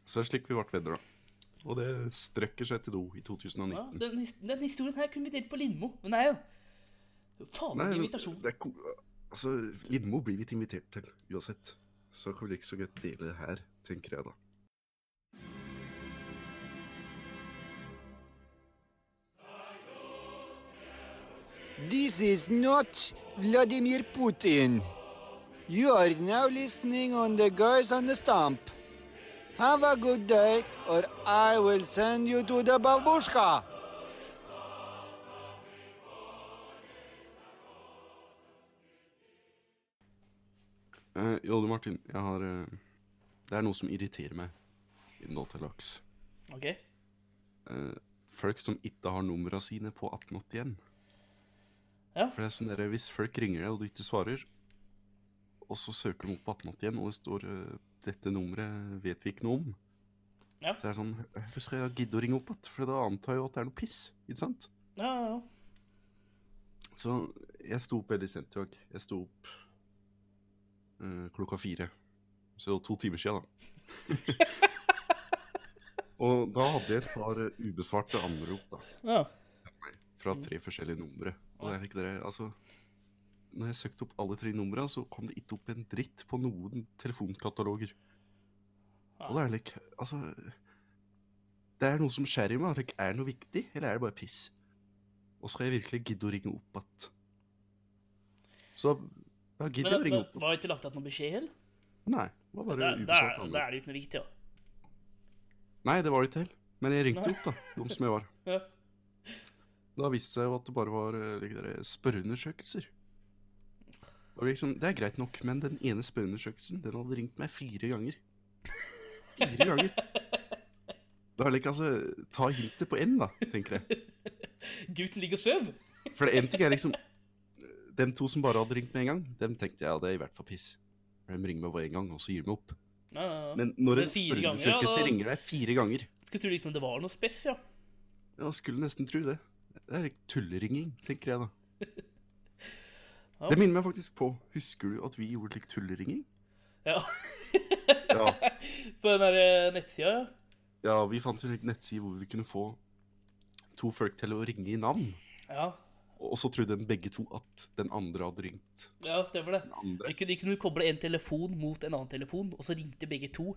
S2: Så det er slik vi ble venner, da. Og det strekker seg til do i
S3: Ja,
S2: 2019.
S3: den, his- den historien her kunne vi delt på Lindmo, men nei, ja. Faen,
S2: Nei,
S3: ikke
S2: men
S3: invitasjon.
S2: det er ko altså, Lindmo blir vi ikke invitert til, uansett. Så kan vi like så godt dele det her, tenker jeg da.
S5: This is not Vladimir Putin. You are now listening on the guys on the stump. Have a good day, or I will send you to the babushka.
S2: Eh, jo, du Martin, jeg har eh, Det er noe som irriterer meg nå til dags.
S3: Ok.
S2: eh, folk som ikke har numra sine på 1881.
S3: Ja.
S2: For det er sånn der, Hvis folk ringer deg, og du ikke svarer, og så søker de opp på 1881, og det står eh, 'Dette nummeret vet vi ikke noe om',
S3: Ja.
S2: så er det sånn Hvorfor skal jeg gidde å ringe opp igjen? For da antar jeg jo at det er noe piss. ikke sant?
S3: Ja, ja, ja.
S2: Så jeg sto opp veldig sent i dag. Jeg sto opp eh, klokka fire. Så det var to timer siden,
S3: [LAUGHS]
S2: da. og da hadde jeg et par eh, ubesvarte anrop, da.
S3: ja.
S2: fra
S3: Mm.
S2: tre forskjellige numre. Og det er ikke det, altså... Når jeg søkte opp alle tre numrene, så kom det ikke opp en dritt på noen telefonkataloger. Og det er like, altså... Det er noe som skjer i meg, at det ikke er noe viktig, eller er det bare piss? Og skal jeg virkelig gidde å ringe opp at... Så da
S3: Men,
S2: gidder jeg å ringe
S3: men,
S2: opp.
S3: var det ikke lagt igjen noen beskjed, eller?
S2: Nei, det
S3: Da,
S2: var bare
S3: da,
S2: ubesvart
S3: da
S2: anrop.
S3: er det jo ikke noe viktig, ja.
S2: Nei, det var det ikke helt. Men jeg ringte opp, da, de som jeg var.
S3: [LAUGHS] Ja.
S2: Da viste det seg jo at det bare var eh, like dere, spørreundersøkelser. Og liksom, Det er greit nok, men den ene spørreundersøkelsen den hadde ringt meg fire ganger. Fire
S3: [LAUGHS]
S2: ganger. Da er det ikke altså Ta hintet på én, da, tenker jeg.
S3: Gutten ligger og sover.
S2: For én ting er liksom Dem to som bare hadde ringt med en gang, dem tenkte jeg ja, det er i hvert fall piss. For De ringer meg bare én gang, og så gir de opp.
S3: Ja, ja, ja.
S2: Men når en
S3: Men fire ganger, ja,
S2: spørreundersøkelse
S3: da-
S2: ringer deg fire ganger
S3: Skulle tro liksom det var noe spes, ja.
S2: Ja, skulle nesten tro det. Det er tulleringing, tenker jeg da.
S3: [LAUGHS] Ja.
S2: Det minner meg faktisk på Husker du at vi gjorde litt tulleringing?
S3: Ja.
S2: Ja.
S3: [LAUGHS] På den der eh, nettsida, ja.
S2: ja, vi fant jo en nettside hvor vi kunne få to folk til å ringe i navn.
S3: Ja,
S2: Og så trodde de begge to at den andre hadde ringt
S3: ja stemmer det.
S2: den andre.
S3: De kunne, de kunne koble en telefon mot en annen telefon, og så ringte begge to.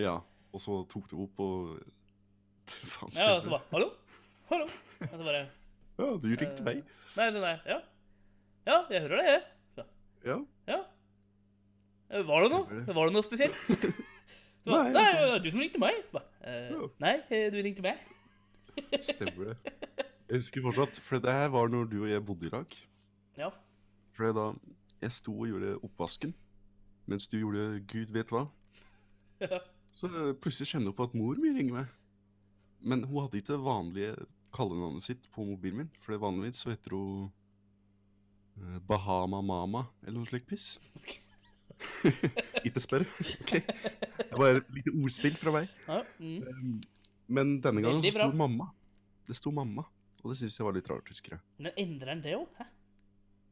S2: Ja, og så tok de opp og [LAUGHS] Faen,
S3: Ja, og så
S2: stemmer.
S3: bare Hallo? Hallo? Og så bare
S2: Ja, du ringte meg.
S3: Nei, nei, nei. Ja. Ja, jeg hører det, jeg.
S2: Ja.
S3: Ja. Eh, Var det
S2: Stemmer
S3: noe?
S2: det.
S3: Var det noe
S2: [LAUGHS]
S3: spesielt? Det var,
S2: Nei,
S3: nei,
S2: altså-
S3: det var du som ringte meg. Ba, eh,
S2: Ja.
S3: nei, eh, du ringte meg.
S2: Stemmer det. Jeg husker fortsatt, for det her var når du og jeg bodde i lag.
S3: Ja.
S2: For da jeg sto og gjorde oppvasken, mens du gjorde gud vet hva,
S3: Ja.
S2: så eh, plutselig kjenner jeg på at mor mi ringer meg. Men hun hadde ikke vanlige kallenavnet sitt på mobilen min, for det vanligvis så heter hun eh, Bahama Mama, eller noe slik
S3: [LAUGHS]
S2: piss. ikke spør. ok. Det var et lite ordspill fra meg.
S3: Ja, mm.
S2: Men denne gangen
S3: Veldig
S2: så sto
S3: bra.
S2: mamma. Det sto mamma, og det syns jeg var litt rart, husker jeg.
S3: Men endrer han det òg? Hæ?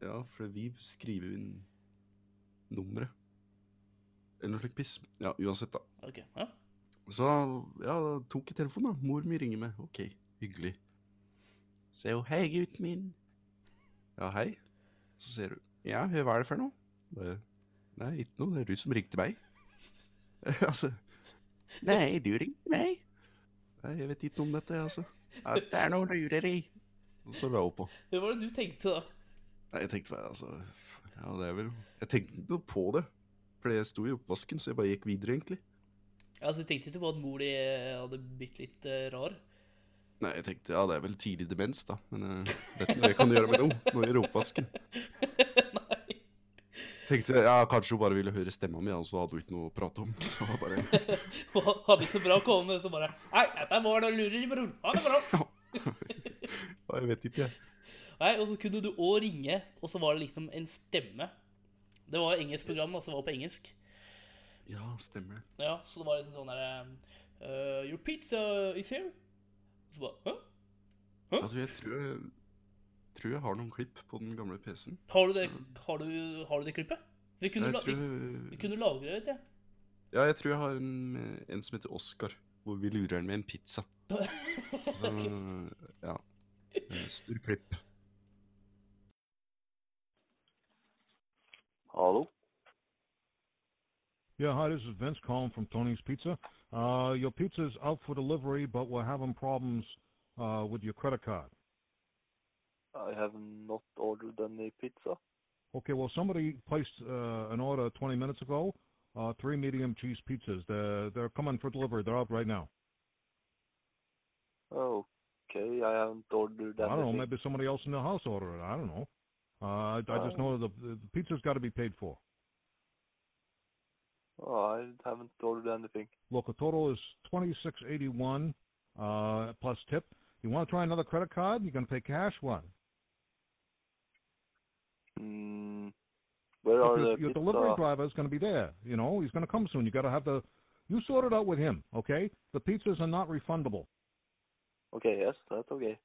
S2: Ja, for vi skriver jo inn nummeret. Eller noe slikt piss. Ja, uansett, da.
S3: Ok, ja.
S2: Så ja, da tok jeg telefonen, da. Mor mi ringer meg. OK, hyggelig. Så jo, hei, gutten min. Ja, hei. Så sier hun. Ja, hva er det for noe? Bare, Nei, ikke noe. Det er du som ringte meg. [LAUGHS] altså Nei, du ringte meg. Nei, jeg vet ikke noe om dette, jeg, altså. Ja, [LAUGHS] det er noe lureri. Og så la jeg opp på.
S3: Hva var det du tenkte da?
S2: Nei, jeg tenkte bare, altså Ja, det er vel Jeg tenkte ikke noe på det. For jeg sto i oppvasken, så jeg bare gikk videre, egentlig.
S3: Altså, Du tenkte ikke på at mor di eh, hadde blitt litt eh, rar? [LAUGHS]
S2: Nei, jeg tenkte ja, det er vel tidlig demens, da. Men eh, vet ikke hva jeg kan gjøre med det Oh, nå. Nå gjør oppvasken.
S3: Nei.
S2: Tenkte jeg, ja, Kanskje hun bare ville høre stemma mi, og så hadde hun ikke noe å prate om. Så var bare,
S3: Og hadde ikke noe bra å komme med, så bare Nei, dette var det lurer, bror. Ha det bra.
S2: ja, jeg vet ikke, jeg.
S3: Nei, og så kunne du òg ringe, og så var det liksom en stemme. Det var et engelsk program, da, så det var på engelsk.
S2: Ja, stemmer det.
S3: Ja, så det var liksom sånn derre eh, Your pizza is here. Så bare, Hæ?
S2: Altså, jeg tror jeg, tror jeg har noen klipp på den gamle PC-en.
S3: Har du det, har du, har du det klippet? Vi kunne,
S2: Jeg
S3: la,
S2: tror,
S3: vi, vi kunne lagre det, vet jeg. [LAUGHS]
S2: ja, jeg tror jeg har en, med- en som heter Oscar, hvor vi lurer ham med en
S3: [LAUGHS]
S2: pizza. Så, ja. eh, Stor klipp.
S6: Hello?
S7: Yeah, hi, this is Vince calling from Tony's Pizza. Uh, your pizza is out for delivery, but we're having problems uh, with your credit card.
S6: I have not ordered any pizza.
S7: Okay, well, somebody placed uh, an order 20 minutes ago. Uh, three medium cheese pizzas. They're, they're coming for delivery. They're out right now.
S6: Okay, I haven't ordered anything.
S7: I don't know. Maybe somebody else in the house ordered it. I don't know. Uh, I, I just
S6: Oh.
S7: know the, the pizza's got to be paid for.
S6: Oh, I haven't ordered anything.
S7: Local total is 2681 uh, plus tip. You want to try another credit card? You're going to pay cash? What?
S6: Mm, where
S7: Look,
S6: are
S7: your,
S6: the
S7: your
S6: pizza?
S7: delivery driver is going to be there. You know, he's going to come soon. You got to have the. You sort it out with him, okay? The pizzas are not refundable.
S6: Okay, yes, that's okay.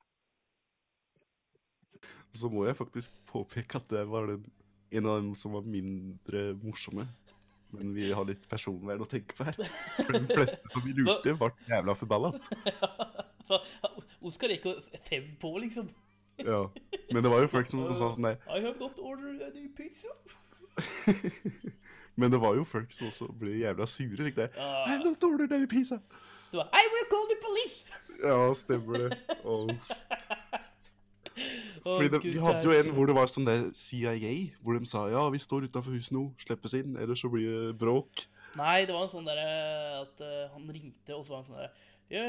S2: Og så må jeg faktisk påpeke at det var den, en av dem som var mindre morsomme. Men vi har litt personvern å tenke på her. For de fleste som vi lurte, ble jævla forballet.
S3: Så Oskar gikk jo fem på, liksom.
S2: Ja. Men det var jo folk som sa sånn nei.
S3: I have not ordered any pizza.
S2: Men det var jo folk som også ble jævla sure. Like det.
S3: Ja.
S2: I'm not ordering any pizza.
S3: Så bare, I will call the police!
S2: Ja, stemmer det. Og,
S3: Oh,
S2: fordi det, vi hadde jo en hvor det var sånn der CIA, hvor de sa ja, vi står utafor huset nå, slippes inn, ellers så blir det bråk.
S3: Nei, det var en sånn derre at eh, han ringte, og så var han sånn derre «Ja»,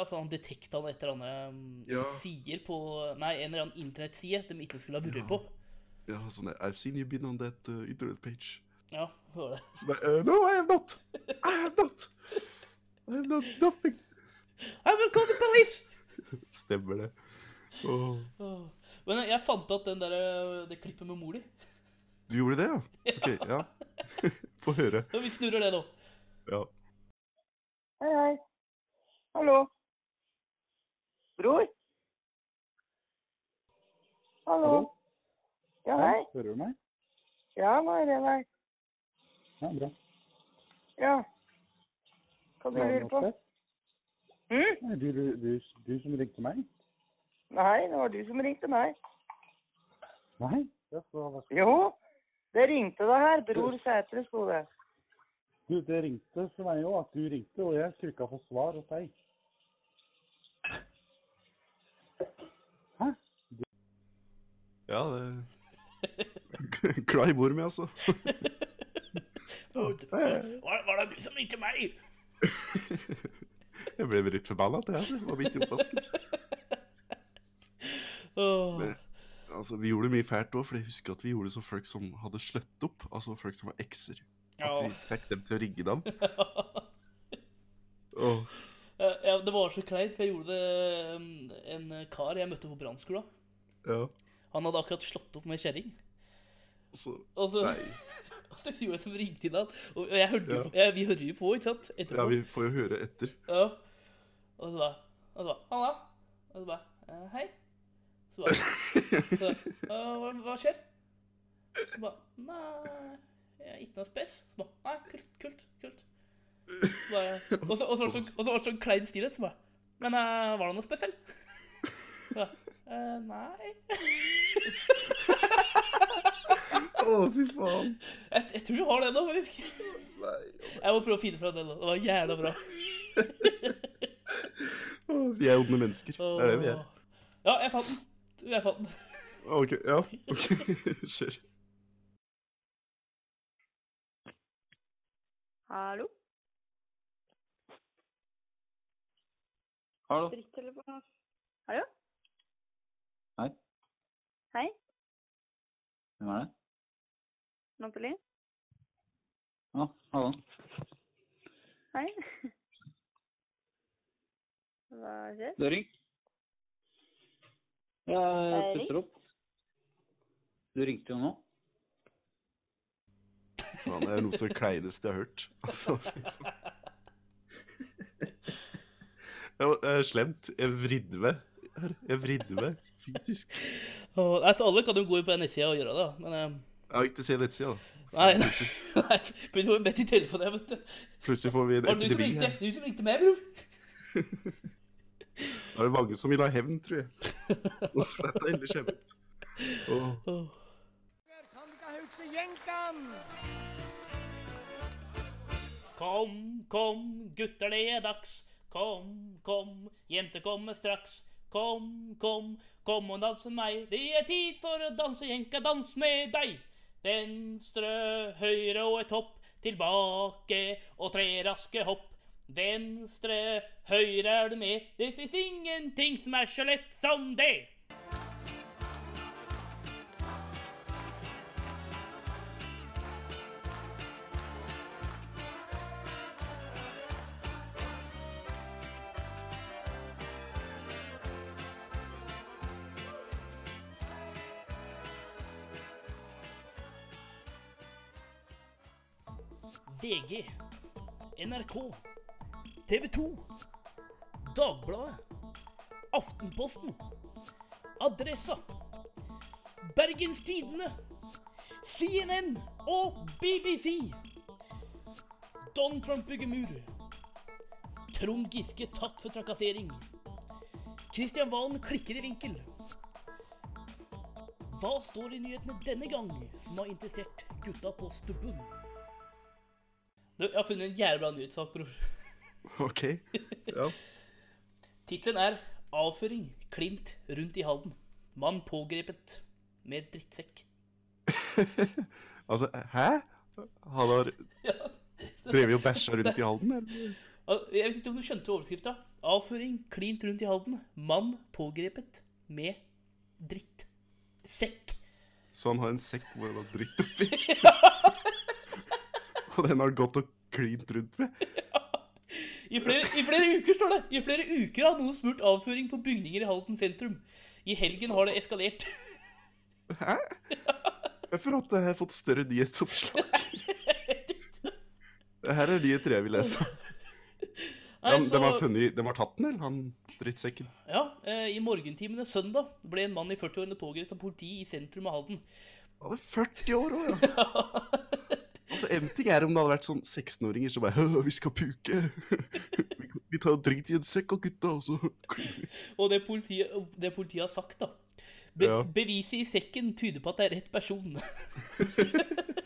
S3: Altså, han detekta et eller annet mm,
S2: Ja.
S3: sider på Nei, en eller annen internettside de ikke skulle ha vært på.
S2: Ja, sånn der, I've seen you been on that uh, internet page.
S3: Ja, det var det.
S2: Så bare, uh, No, I have not! I have not! I have not nothing!
S3: I will call the police!
S2: Stemmer det. Åh.
S3: Åh. Men eh, jeg fant at den der, eh, det klippet med mor di
S2: Du gjorde det, ja? Ok, ja. [LAUGHS] Få høre.
S3: Ja, Vi snurrer det nå.
S2: Ja.
S8: Hei, hei. Hallo. Bror? Hallo.
S9: Hallo?
S8: Ja, hei.
S9: Hører du meg?
S8: Ja, nå er jeg der.
S9: Ja, bra.
S8: Ja. Hva du
S9: Har
S8: lurer på?
S9: noe sted?
S8: Hm?
S9: Nei, Du, du, du, du som ringte meg?
S8: Nei, det var du som ringte meg.
S9: Nei? Ja, så, hva skal-
S8: Jo, det ringte deg her. Bror Sætre sto det.
S9: du, det ringte for meg òg, at du ringte, og jeg trykka på svar hos deg. Hæ?
S2: ja, det [LAUGHS] Glad i mor mi, altså.
S3: Åh, det- Var, var det du som ringte meg?
S2: Jeg ble litt forbanna til jeg, altså. Det var midt i oppvasken.
S3: Åh.
S2: Men- Altså, vi gjorde mye fælt òg, for jeg husker at vi gjorde det som folk som hadde sløtt opp. Altså folk som var ekser. At vi
S3: Ja.
S2: fikk dem til å ringe dem. Åh.
S3: eh, ja, det var så kleint, for jeg gjorde det mm, En kar jeg møtte på brannskolen,
S2: ja.
S3: han hadde akkurat slått opp med kjerring.
S2: Så,
S3: Og så,
S2: Nei.
S3: [LAUGHS] og så gjorde jeg som ringte inn han. Og jeg hørte, jo-
S2: Ja.
S3: jeg, vi hører jo på, ikke sant?
S2: ja,
S3: Etterpå.
S2: vi får jo høre etter.
S3: Ja. Og så da Og så da Halla. Og så bare eh, Hei. Så bare, så bare «Eh, hva, hva skjer? Så bare Nei, jeg er ikke noe spes. Så bare Nei, kult, kult, kult. Så bare, og så og så var det sånn- og så var det sånn klein stillhet. Så bare Men eh, var det noe spesielt? Så bare «Eh, Nei.
S2: Å, fy faen.
S3: Jeg, jeg tror jeg har den nå, faktisk. Jeg må prøve å finne fra den. nå. Det var jævla bra.
S2: Å, Vi er onde mennesker. Det er det vi er.
S3: Ja, jeg fant den. Jeg fant den.
S2: OK. [LAUGHS] Ja, ok. Kjør.
S10: Hallo?
S11: Hallo.
S10: Dritt eller hva? Hallo?
S11: Hei.
S10: Hei,
S11: Hvem er det?
S10: Nathalie.
S11: Ja, hallo.
S10: Hei. [LAUGHS] Hva skjer?
S11: Du har ringt? Ja, jeg
S10: Erik?
S11: Eh, putter opp. Du ringte jo nå.
S2: Faen, det er noe av det kleineste jeg har hørt.
S3: [LAUGHS]
S2: Altså, fy faen. Det var eh, slemt. Jeg vridde meg. Jeg vridde meg fysisk.
S3: Åh, nei, så alle kan jo gå inn på nettsida og gjøre det, da. men eh,
S2: Jeg har ikke sett nettsida.
S3: Nei, [LAUGHS] nei. nei Plutselig får vi bedt i telefonen, jeg, vet du.
S2: Plutselig får vi en
S3: Var det du som
S2: epidemi.
S3: ringte?
S2: her.
S3: Du som ringte meg, bror?
S2: Da er det mange som vil ha hevn, tror jeg. Og så dette er endelig skjebnet. Åh.
S3: Kom, kom, gutter, det er dags. Kom, kom, jenter kommer straks. Kom, kom, kom og dans med meg. Det er tid for å danse jenka, dans med deg. Venstre, høyre og et hopp. Tilbake og tre raske hopp. Venstre, høyre er du med. Det fins ingenting som er så lett som det. VG, NRK, TV 2, Dagbladet, Aftenposten, Adressa, Bergens Tidende, CNN og BBC. Don Trump bygger mur. Trond Giske tatt for trakassering. Kristian Valen klikker i vinkel. Hva står i nyhetene denne gang som har interessert gutta på stubben? Du, jeg har funnet en jævlig bra nyhetssak, bror.
S2: OK. Ja.
S3: Tittelen er 'Avføring. Klint rundt i Halden'. Mann pågrepet med drittsekk. [LAUGHS]
S2: Altså, hæ? Han har drevet og bæsja rundt i Halden, eller?
S3: Al- Jeg vet ikke om du skjønte overskrifta. 'Avføring. Klint rundt i Halden'. Mann pågrepet med drittsekk.
S2: Så han har en sekk hvor han har dritt oppi.
S3: [LAUGHS]
S2: og den har han gått og klint rundt med.
S3: I flere, I flere uker står det! I flere uker har noen smurt avføring på bygninger i Halden sentrum. I helgen har det eskalert.
S2: Hvorfor at jeg har fått større
S3: [LAUGHS]
S2: nyhetsoppslag? Det her er nyheter jeg vil lese.
S3: Nei,
S2: De,
S3: så-
S2: de, har funnet, de har tatt den, eller? Han drittsekken.
S3: Ja, eh, I morgentimene søndag ble en mann i 40-årene pågrepet av politi i sentrum av Halden.
S2: Han er 40 år òg, ja.
S3: [LAUGHS]
S2: Altså, En ting er om det hadde vært sånn 16-åringer som bare «Hø, 'Vi skal puke'. [LAUGHS] Vi, vi tar og driter i en sekk og gutta, og så
S3: Og det politiet, det politiet har sagt, da. Be
S2: Ja.
S3: Beviset i sekken tyder på at det er rett person. [LAUGHS]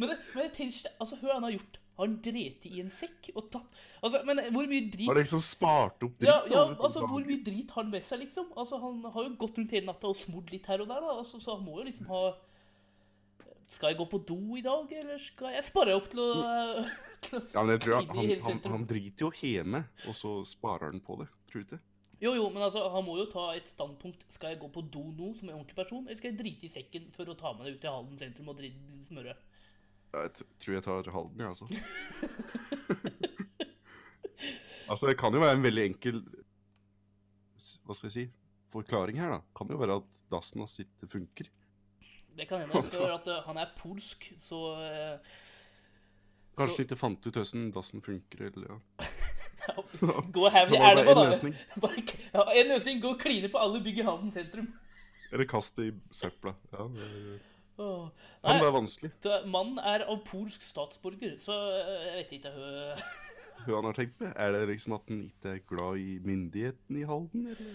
S3: men det, men jeg tenker, ikke- altså, hør hva han har gjort. Har han dreti i en sekk? Og tatt, altså, men hvor mye drit
S2: Har de liksom spart opp dritt?
S3: ja, ja,
S2: over
S3: altså,
S2: dagen?
S3: Hvor mye drit har han med seg, liksom? Altså, Han har jo gått rundt hele natta og smurt litt her og der, da. Altså, så han må jo liksom ha Skal jeg gå på do i dag, eller skal jeg spare opp til å til å-
S2: Ja, men jeg tror
S3: Inni
S2: han, han,
S3: hele
S2: han,
S3: sentrum.
S2: han driter jo hjemme, og så sparer han på det. Tror du ikke?
S3: Jo, jo, men altså, han må jo ta et standpunkt. Skal jeg gå på do nå som en ordentlig person, eller skal jeg drite i sekken for å ta meg det ut til Halden sentrum og dri- smøre?
S2: Ja, Jeg tr- tror jeg tar Halden, jeg, altså. altså, det kan jo være en veldig enkel s- Hva skal jeg si? Forklaring her, da. Kan jo være at dassen hans ikke funker.
S3: Det kan hende. For at eh, han er polsk, så eh,
S2: [LAUGHS] Kanskje de ikke fant ut hvordan dassen funker, eller ja.
S3: Gå og hævl i
S2: det var bare
S3: elva,
S2: en
S3: da.
S2: løsning.
S3: [LAUGHS] Bare k- ja, En løsning. Gå og kline på alle bygg i havnen sentrum.
S2: Eller kast det i søpla. Ja, det-
S3: Åh.
S2: Kan
S3: Nei,
S2: være vanskelig.
S3: det- Mannen er av polsk statsborger, så eh, jeg vet ikke hø...
S2: Hva han har tenkt med? Er det liksom at han ikke er glad i myndigheten i Halden, eller?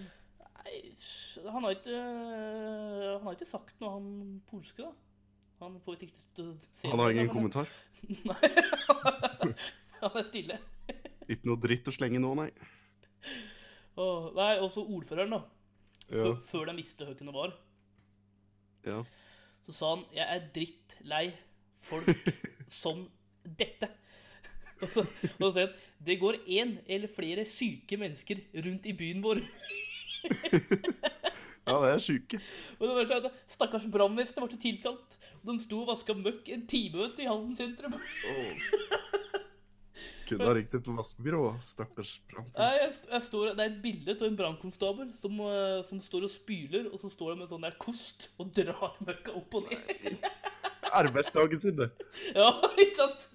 S3: Nei, han har ikke eh, Han har ikke sagt noe, han polske, da. Han får sikkert eh, se
S2: Han har
S3: det,
S2: ingen
S3: men-
S2: kommentar.
S3: Nei. [LAUGHS] Han er stille.
S2: Ikke noe dritt å slenge nå, nei.
S3: Åh, Nei, også ordføreren, da. Før,
S2: Ja.
S3: før de visste hvem det var.
S2: Ja.
S3: Så sa han jeg er drittlei folk som dette. Og så, og så sier han det går én eller flere syke mennesker rundt i byen vår.
S2: Ja, det er syke.
S3: Og det var sånn at Stakkars brannvesenet ble tilkalt. Og de sto og vaska møkk en time vet du, i Halden sentrum.
S2: Kunne ha ringt et vaskebyrå, stakkars brannfolk.
S3: Nei, jeg, st- jeg står, det er et bilde av en brannkonstabel som, eh, som står og spyler, og så står han med en sånn der kost og drar møkka opp og ned.
S2: Arbeidsdagen sin, det.
S3: [LAUGHS] Ja, ikke sant?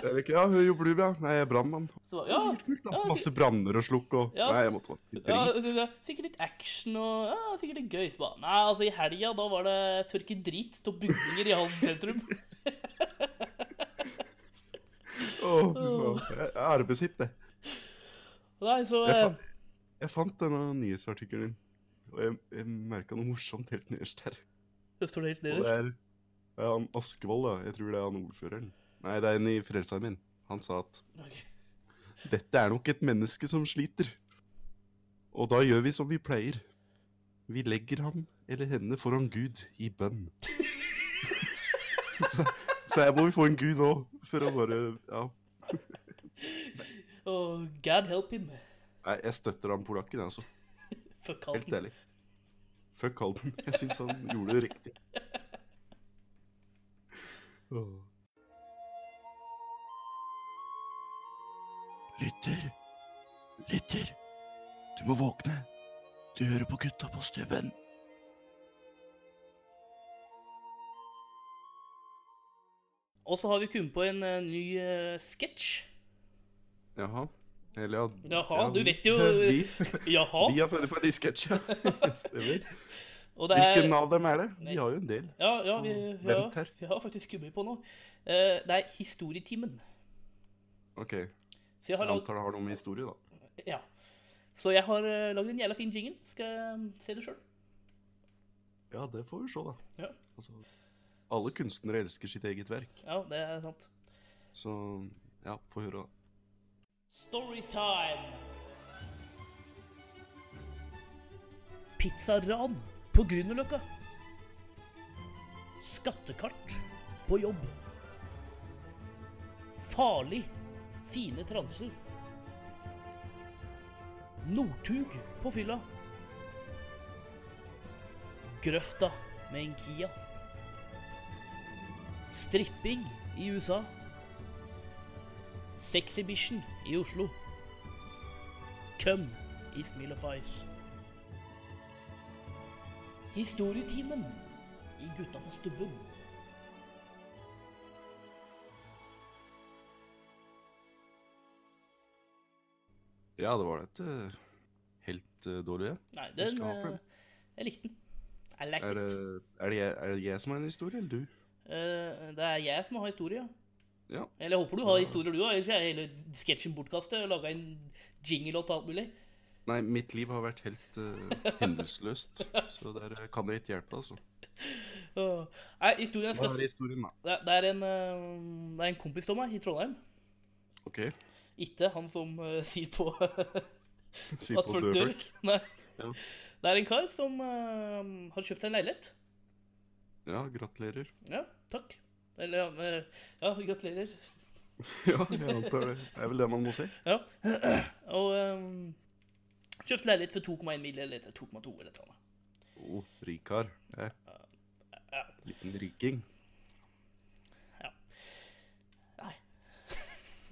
S2: Eller ikke, ja, hun jobber du, ja. Nei, jeg er brannmann.
S3: Så, ja, ja,
S2: Masse branner å slukke og
S3: Ja,
S2: Nei, jeg måtte vaske litt
S3: Ja,
S2: dritt.
S3: det- det- sikkert litt action og ja, sikkert litt gøy. Så bare, nei, altså I helga da var det tørke drit av bygninger i Halden [LAUGHS] sentrum.
S2: Åh, fy faen. Jeg er arbeidshipp, det.
S3: Nei, så
S2: Jeg
S3: eh,
S2: fant, jeg fant denne nyhetsartikkelen din, og jeg, jeg merka noe morsomt helt nederst her.
S3: Det står helt
S2: Og det
S3: nederst.
S2: er, det er han Askvold, da. Jeg tror det er han ordføreren. Nei, det er en i Frelsesarmeen. Han sa at dette er nok et menneske som sliter. Og da gjør vi som vi pleier. Vi legger ham eller henne foran Gud i bønn. [LAUGHS] så, så her må vi få en Gud nå, for å bare Ja.
S3: Og God help him.
S2: Nei, jeg støtter han polakken, altså.
S3: Fuck
S2: Helt
S3: Halden.
S2: ærlig. Fuck Halden. Jeg syns han gjorde det riktig. Åh. Lytter, lytter. Du må våkne. Du hører på gutta på stubben.
S3: Og så har vi kommet på en eh, ny eh, sketsj.
S2: [LAUGHS] Jaha. Eller ja
S3: Jaha,
S2: ja,
S3: du
S2: vi-
S3: vet jo
S2: Vi,
S3: Jaha.
S2: vi har funnet på en ny sketsj, ja. [LAUGHS] Stemmer.
S3: Og det er-
S2: Hvilken av dem er det? Vi har jo en del.
S3: Ja, ja, vi, ja
S2: Vent her.
S3: vi har faktisk kommet på noe. Eh, Det er historietimen.
S2: OK.
S3: Så jeg har
S2: Jeg
S3: lagd
S2: antar det har noe med historie, da.
S3: ja. Så jeg har eh, lagd en jævla fin jingle. Skal jeg eh, se det sjøl?
S2: Ja, det får vi se, da.
S3: Ja.
S2: Altså, alle kunstnere elsker sitt eget verk,
S3: ja, det er sant.
S2: så ja, få høre. da.
S3: Storytime! Pizzaran på Grünerløkka. Skattekart på jobb. Farlig fine transer. Northug på fylla. Grøfta med en Kia. Stripping i USA. Sexybition i Oslo. Køm i Smil og Fais. Historietimen i Gutta på stubben.
S2: Ja, det var et eh, helt eh, dårlig ja.
S3: Nei,
S2: Vi
S3: den
S2: skal ha for
S3: eh, Jeg likte den. I like
S2: Er det,
S3: it.
S2: er, det jeg, er det jeg som har en historie, eller du?
S3: Eh, det er jeg som har historie. ja.
S2: Ja.
S3: Eller jeg håper du har historier, du òg. Ellers er hele sketsjen bortkastet. og Laga en jingle og alt mulig.
S2: Nei, mitt liv har vært helt eh, hendelsesløst, så der eh, kan jeg ikke hjelpe, altså.
S3: Åh. Eh, Nei, historien jeg
S2: Hva er
S3: skal
S2: historien, da?
S3: Det er- det er en, eh, det er en kompis av meg i Trondheim.
S2: OK,
S3: Ikke han som eh, sier på [LAUGHS]
S2: Sier på døde folk.
S3: Nei.
S2: Ja.
S3: Det er en kar som eh, har kjøpt seg en leilighet.
S2: ja, gratulerer. [LAUGHS]
S3: Ja, takk. Eller ja, men- ja gratulerer.
S2: Ja, jeg antar det. Det er vel det man må si.
S3: Ja. [CLEARS THROAT] Og um, kjøpt leilighet for 2,1 mill. eller 2,2 eller et eller annet.
S2: Å, rikar. Eh, liten riking.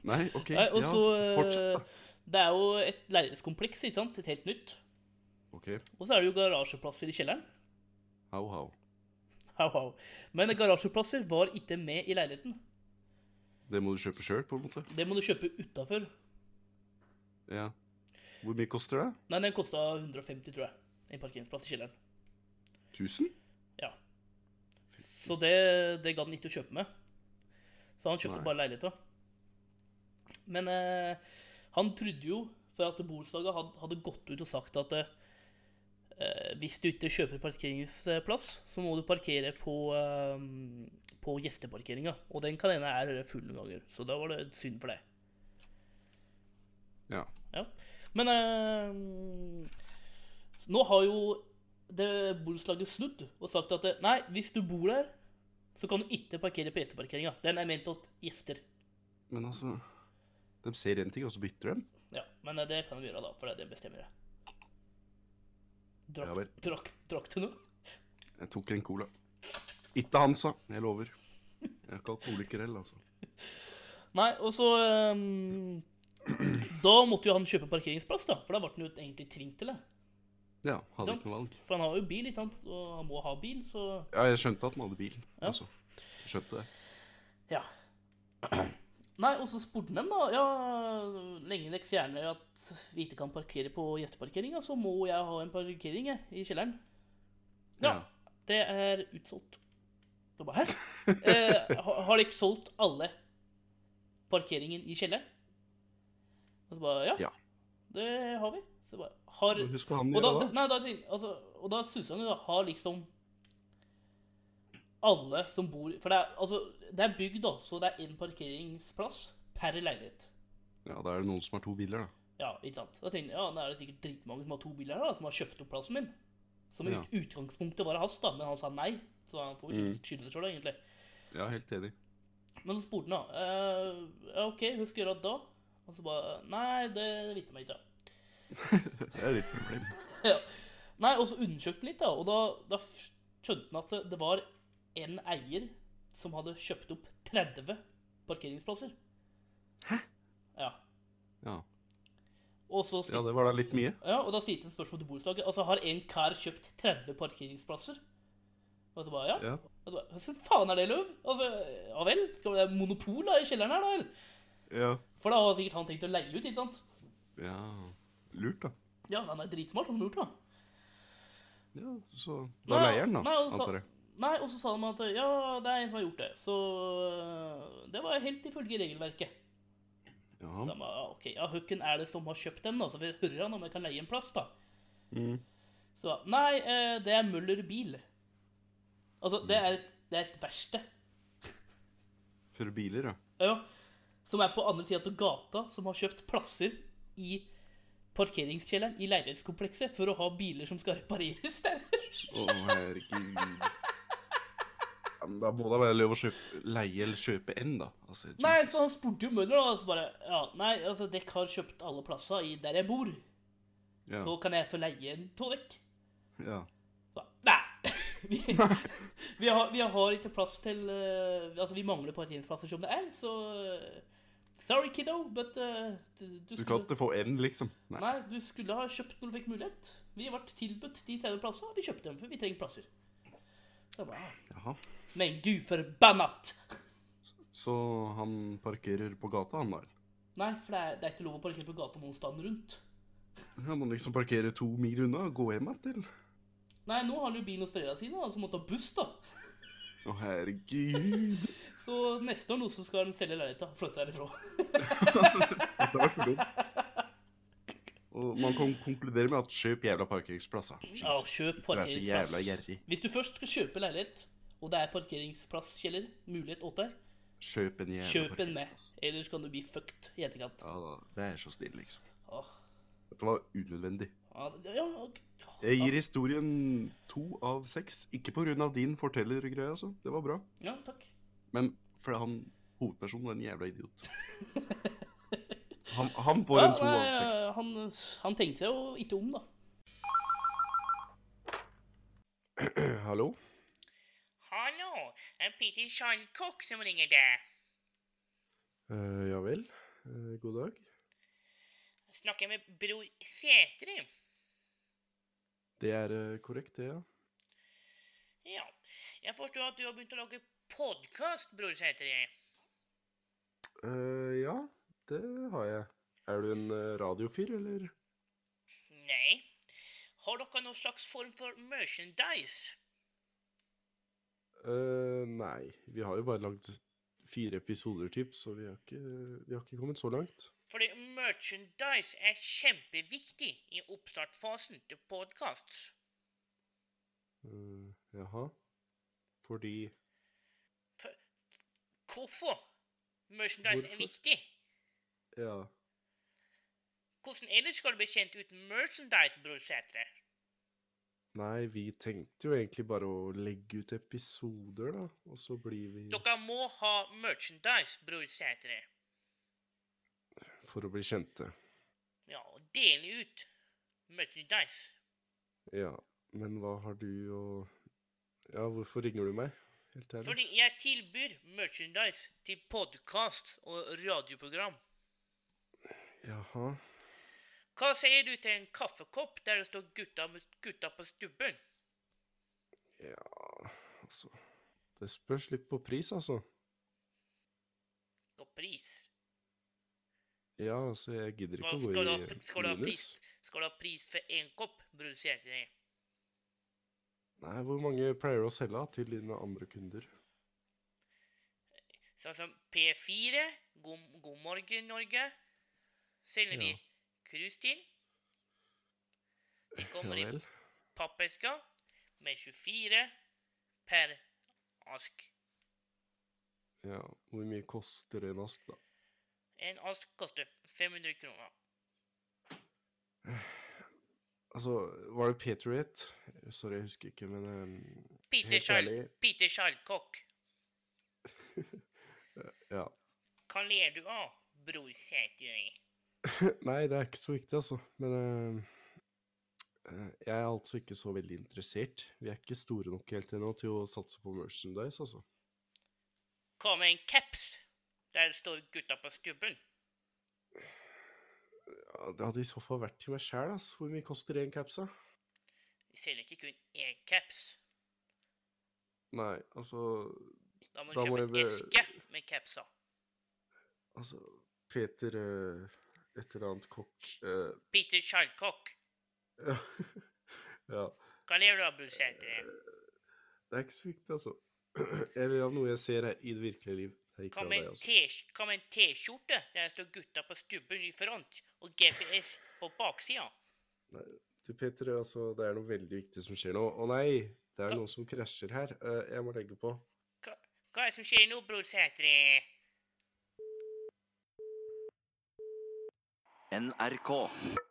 S2: Nei, OK.
S3: Nei, og
S2: ja,
S3: så eh,
S2: fortsett, da.
S3: Det er jo et leilighetskompleks, ikke sant? Et helt nytt.
S2: OK.
S3: Og så er det jo garasjeplasser i kjelleren.
S2: How, how.
S3: Hau, hau. Men garasjeplasser var ikke med i leiligheten.
S2: Det må du kjøpe sjøl, på en måte.
S3: Det må du kjøpe utafor.
S2: Ja. Hvor mye koster det?
S3: Nei, den kosta 150, tror jeg. En parkeringsplass i kjelleren.
S2: 1000?
S3: Ja. Så det, det gadd han ikke å kjøpe med. Så han kjøpte
S2: Nei.
S3: bare leiligheta. Men eh, han trodde jo, for at borettslaget had- hadde gått ut og sagt at eh, eh, hvis du ikke kjøper parkeringsplass, så må du parkere på, eh, på gjesteparkeringa. Og den kan hende er full noen ganger, så da var det synd for deg.
S2: Ja.
S3: Ja. Men eh, nå har jo det borettslaget snudd og sagt at eh, nei, hvis du bor der, så kan du ikke parkere på gjesteparkeringa. Den er ment til gjester.
S2: Men altså De ser én ting, og så bytter de?
S3: Ja, men eh, det kan du gjøre, da, for det er det bestemmer jeg. Drakk,
S2: Ja vel.
S3: drakk, drakk du noe?
S2: Jeg tok en cola. Ikke Hansa, jeg lover. Jeg er ikke alkoholiker heller, altså.
S3: Nei, og så eh, Da måtte jo han kjøpe parkeringsplass, da, for da ble han jo egentlig tvunget til det.
S2: Ja, hadde
S3: sant?
S2: ikke noe valg.
S3: For han har jo bil, ikke sant? og han må ha bil, så
S2: Ja, jeg skjønte at den hadde bil.
S3: Ja.
S2: Altså. Jeg Skjønte det.
S3: Ja. Nei, og så spurte de da Ja, lenge dere fjerner at vi ikke kan parkere på gjesteparkeringa, så må jeg ha en parkering jeg, i kjelleren. Ja, det er utsolgt. Da bare Hæ? Eh, ha- har dere solgt alle parkeringen i kjelleren? Og så bare Ja,
S2: Ja.
S3: det har vi. Så bare Har
S2: Men husker han
S3: og da,
S2: gjøre det?
S3: nei, da, tenk- altså, og da suser han jo da Har liksom alle som bor For det er, altså, det er bygd, da, så det er én parkeringsplass per leilighet.
S2: Ja, da er det noen som har to biler, da.
S3: Ja, ikke sant? Da tenkte jeg, ja, da er det sikkert dritmange som har to biler her, da, som har kjøpt opp plassen min. Som i
S2: Ja.
S3: utgangspunktet var hans, da, men han sa nei. Så han får jo
S2: Mm.
S3: skylde seg sjøl, egentlig.
S2: Ja, helt enig.
S3: Men så spurte han da, eh, ja, OK, hva skal jeg gjøre da? Og så bare, nei, det visste jeg ikke.
S2: Det er litt problem.
S3: [LAUGHS] ja. Nei, og så undersøkte han litt, da, og da, da f- skjønte han at det- det var en eier som hadde kjøpt opp 30 parkeringsplasser. Hæ? Ja.
S2: Ja.
S3: Og så stilte,
S2: ja, det var da litt mye.
S3: ja, og da stilte han spørsmål til borettslaget. Altså, har en kar kjøpt 30 parkeringsplasser? Og så bare, ja.
S2: Ja.
S3: Og så bare, Hvordan faen er det lov? Altså, ja vel, skal det være monopol da i kjelleren her, da vel?
S2: Ja.
S3: For da har sikkert han tenkt å leie ut, ikke sant?
S2: ja. Lurt, da.
S3: Ja, han er dritsmart, han har gjort det.
S2: Ja, så Da
S3: Nei,
S2: leier den, da,
S3: nei, altså- og så-
S2: antar jeg.
S3: Nei, og så sa de at ja, det er en som har gjort det. Så øh, det var helt ifølge regelverket. Så
S2: Ja.
S3: de, ja, ok, ja, Hvem er det som har kjøpt dem, da? Så vi hører han om jeg kan leie en plass, da.
S2: Mm.
S3: Så nei, eh, det er Møller bil. Altså, det er et, det er et verksted
S2: For biler, ja.
S3: ja, som er på andre sida av gata, som har kjøpt plasser i parkeringskjelleren i leilighetskomplekset for å ha biler som skal repareres der.
S2: Å, herregud. Ja, men da må det være lov å kjøpe, leie eller kjøpe en, da. Altså,
S3: Nei,
S2: Jesus.
S3: for han spurte jo Møller, da. Og så bare Ja, nei, altså, dere har kjøpt alle plasser i der jeg bor.
S2: Ja.
S3: Så kan jeg få leie en av dere.
S2: ja.
S3: Nei! [LAUGHS] Vi, [LAUGHS] vi, har, vi har ikke plass til eh, Altså, vi mangler parkeringsplasser som det er, så eh, Sorry, kiddo, but eh, du, du,
S2: Du kan
S3: skulle,
S2: ikke få en, liksom. Nei.
S3: nei, du skulle ha kjøpt når du fikk mulighet. Vi ble tilbudt de 30 plassene, og vi kjøpte dem, for vi trenger plasser. Så jeg bare,
S2: Jaha.
S3: Men du forbannet!
S2: Så han parkerer på gata, han der.
S3: Nei, for det er, det er ikke lov å parkere på gata noen stand rundt.
S2: Han må liksom parkere to mil unna og gå hjem igjen.
S3: Nei, nå har han jo bilen hos foreldrene sine, og så måtte han ha buss, da.
S2: Å, herregud.
S3: Så neste år nå så skal han selge leiligheta og flytte herifra.
S2: Det har vært for dumt.
S3: [LAUGHS]
S2: Og man kan konkludere med at kjøp jævla parkeringsplasser.
S3: Ja, kjøp
S2: Du er så jævla
S3: parkeringsplass.
S2: gjerrig.
S3: Hvis du først skal kjøpe leilighet, og det er parkeringsplasskjeller, mulighet åt deg,
S2: Kjøp en jævla
S3: kjøp en med.
S2: parkeringsplass.
S3: Ellers kan du bli fucked i etterkant.
S2: Ja da, vær så snill, liksom.
S3: Åh,
S2: Dette var unødvendig.
S3: ja, det- ja, ok.
S2: Jeg gir historien to av seks. Ikke på grunn av din fortellergreie, altså. Det var bra.
S3: ja, takk.
S2: Men fordi han hovedpersonen var en jævla idiot. Han, han får en to
S3: Ja,
S2: av
S3: nei,
S2: seks.
S3: Han, han tenkte seg jo ikke om, da.
S2: [CLEARS THROAT] Hallo?
S12: Hallo, det er Peter Sjalkok som ringer deg.
S2: Eh, ja vel. Eh, god dag.
S12: Jeg Snakker med bror Sætre.
S2: Det er eh, korrekt, det, ja.
S12: Ja, jeg forstår at du har begynt å lage podkast, bror Sætre.
S2: Eh, ja, det har jeg. Er du en eh, radiofyr, eller?
S3: Nei. Har dere noen slags form for merchandise?
S2: Eh, nei, vi har jo bare lagd fire episoder, typ, så vi har ikke, vi har ikke kommet så langt.
S3: Fordi merchandise er kjempeviktig i oppstartfasen til podkast.
S2: Eh, jaha. Fordi
S3: Hvorfor merchandise er
S2: Hvorfor?
S3: viktig?
S2: Ja.
S3: Hvordan ellers skal du bli kjent uten merchandise, Bror Sætre?
S2: Nei, vi tenkte jo egentlig bare å legge ut episoder, da. Og så blir vi
S3: Dere må ha merchandise, Bror Sætre.
S2: For å bli kjente.
S3: Ja, og dele ut merchandise.
S2: Ja. Men hva har du å Ja, hvorfor ringer du meg? Helt ærlig.
S3: Fordi jeg tilbyr merchandise til podkast og radioprogram.
S2: Jaha.
S3: Hva sier du til en kaffekopp der det står 'gutta, med- gutta på stubben'?
S2: Ja, altså Det spørs litt på pris, altså.
S3: Og pris.
S2: Ja, altså, jeg gidder
S3: Hva
S2: ikke å
S3: skal du
S2: gå
S3: ha,
S2: i
S3: skal du ha pris?
S2: minus.
S3: Skal du ha pris for én kopp, bror sier jeg til deg.
S2: Nei, hvor mange pleier du å selge da, til dine andre kunder?
S3: Sånn som P4, God, God morgen Norge, selger de
S2: Ja.
S3: krus til. De kommer
S2: [LAUGHS] Ja
S3: i
S2: vel.
S3: pappesker med 24 per ask.
S2: Ja, hvor mye koster en ask, da?
S3: En ask koster 500 kroner.
S2: Altså, var det Patriot? Sorry, jeg husker ikke, men eh,
S3: Peter,
S2: helt
S3: Schall,
S2: ærlig,
S3: Peter Schallcock,
S2: Ja. [LAUGHS]
S3: hva ler du av, bror sier jeg til deg?
S2: Nei, det er ikke så viktig, altså. Men eh, eh, jeg er altså ikke så veldig interessert. Vi er ikke store nok helt ennå til å satse på merchandise, altså.
S3: Hva med en caps der det står 'gutta på stubben'?
S2: Ja, det hadde i så fall vært til meg sjæl, ass. Hvor mye koster en caps, da?
S3: Vi selger ikke kun én caps.
S2: Nei, altså
S3: Da må du
S2: Da må
S3: kjøpe
S2: jeg
S3: en
S2: be-
S3: eske med capser.
S2: Altså, Peter eh, et eller annet kokk eh, [LAUGHS]
S3: Peter Schallcock,
S2: ja. ja.
S3: hva ler du av, bror sier jeg til deg?
S2: Det er ikke så viktig, altså. [CLEARS THROAT] Jeg vil ha noe jeg ser her i det virkelige liv. Det er ikke
S3: Hva
S2: av
S3: med
S2: deg,
S3: en
S2: altså.
S3: T- hva med en T-skjorte der det står 'gutta på stubben' i front og GPS på baksida?
S2: Nei, du Peter, altså, det er noe veldig viktig som skjer nå. Å nei, det er noe som krasjer her. Eh, Jeg må legge på.
S3: Hva er det som skjer nå, bror Sætre?
S13: NRK.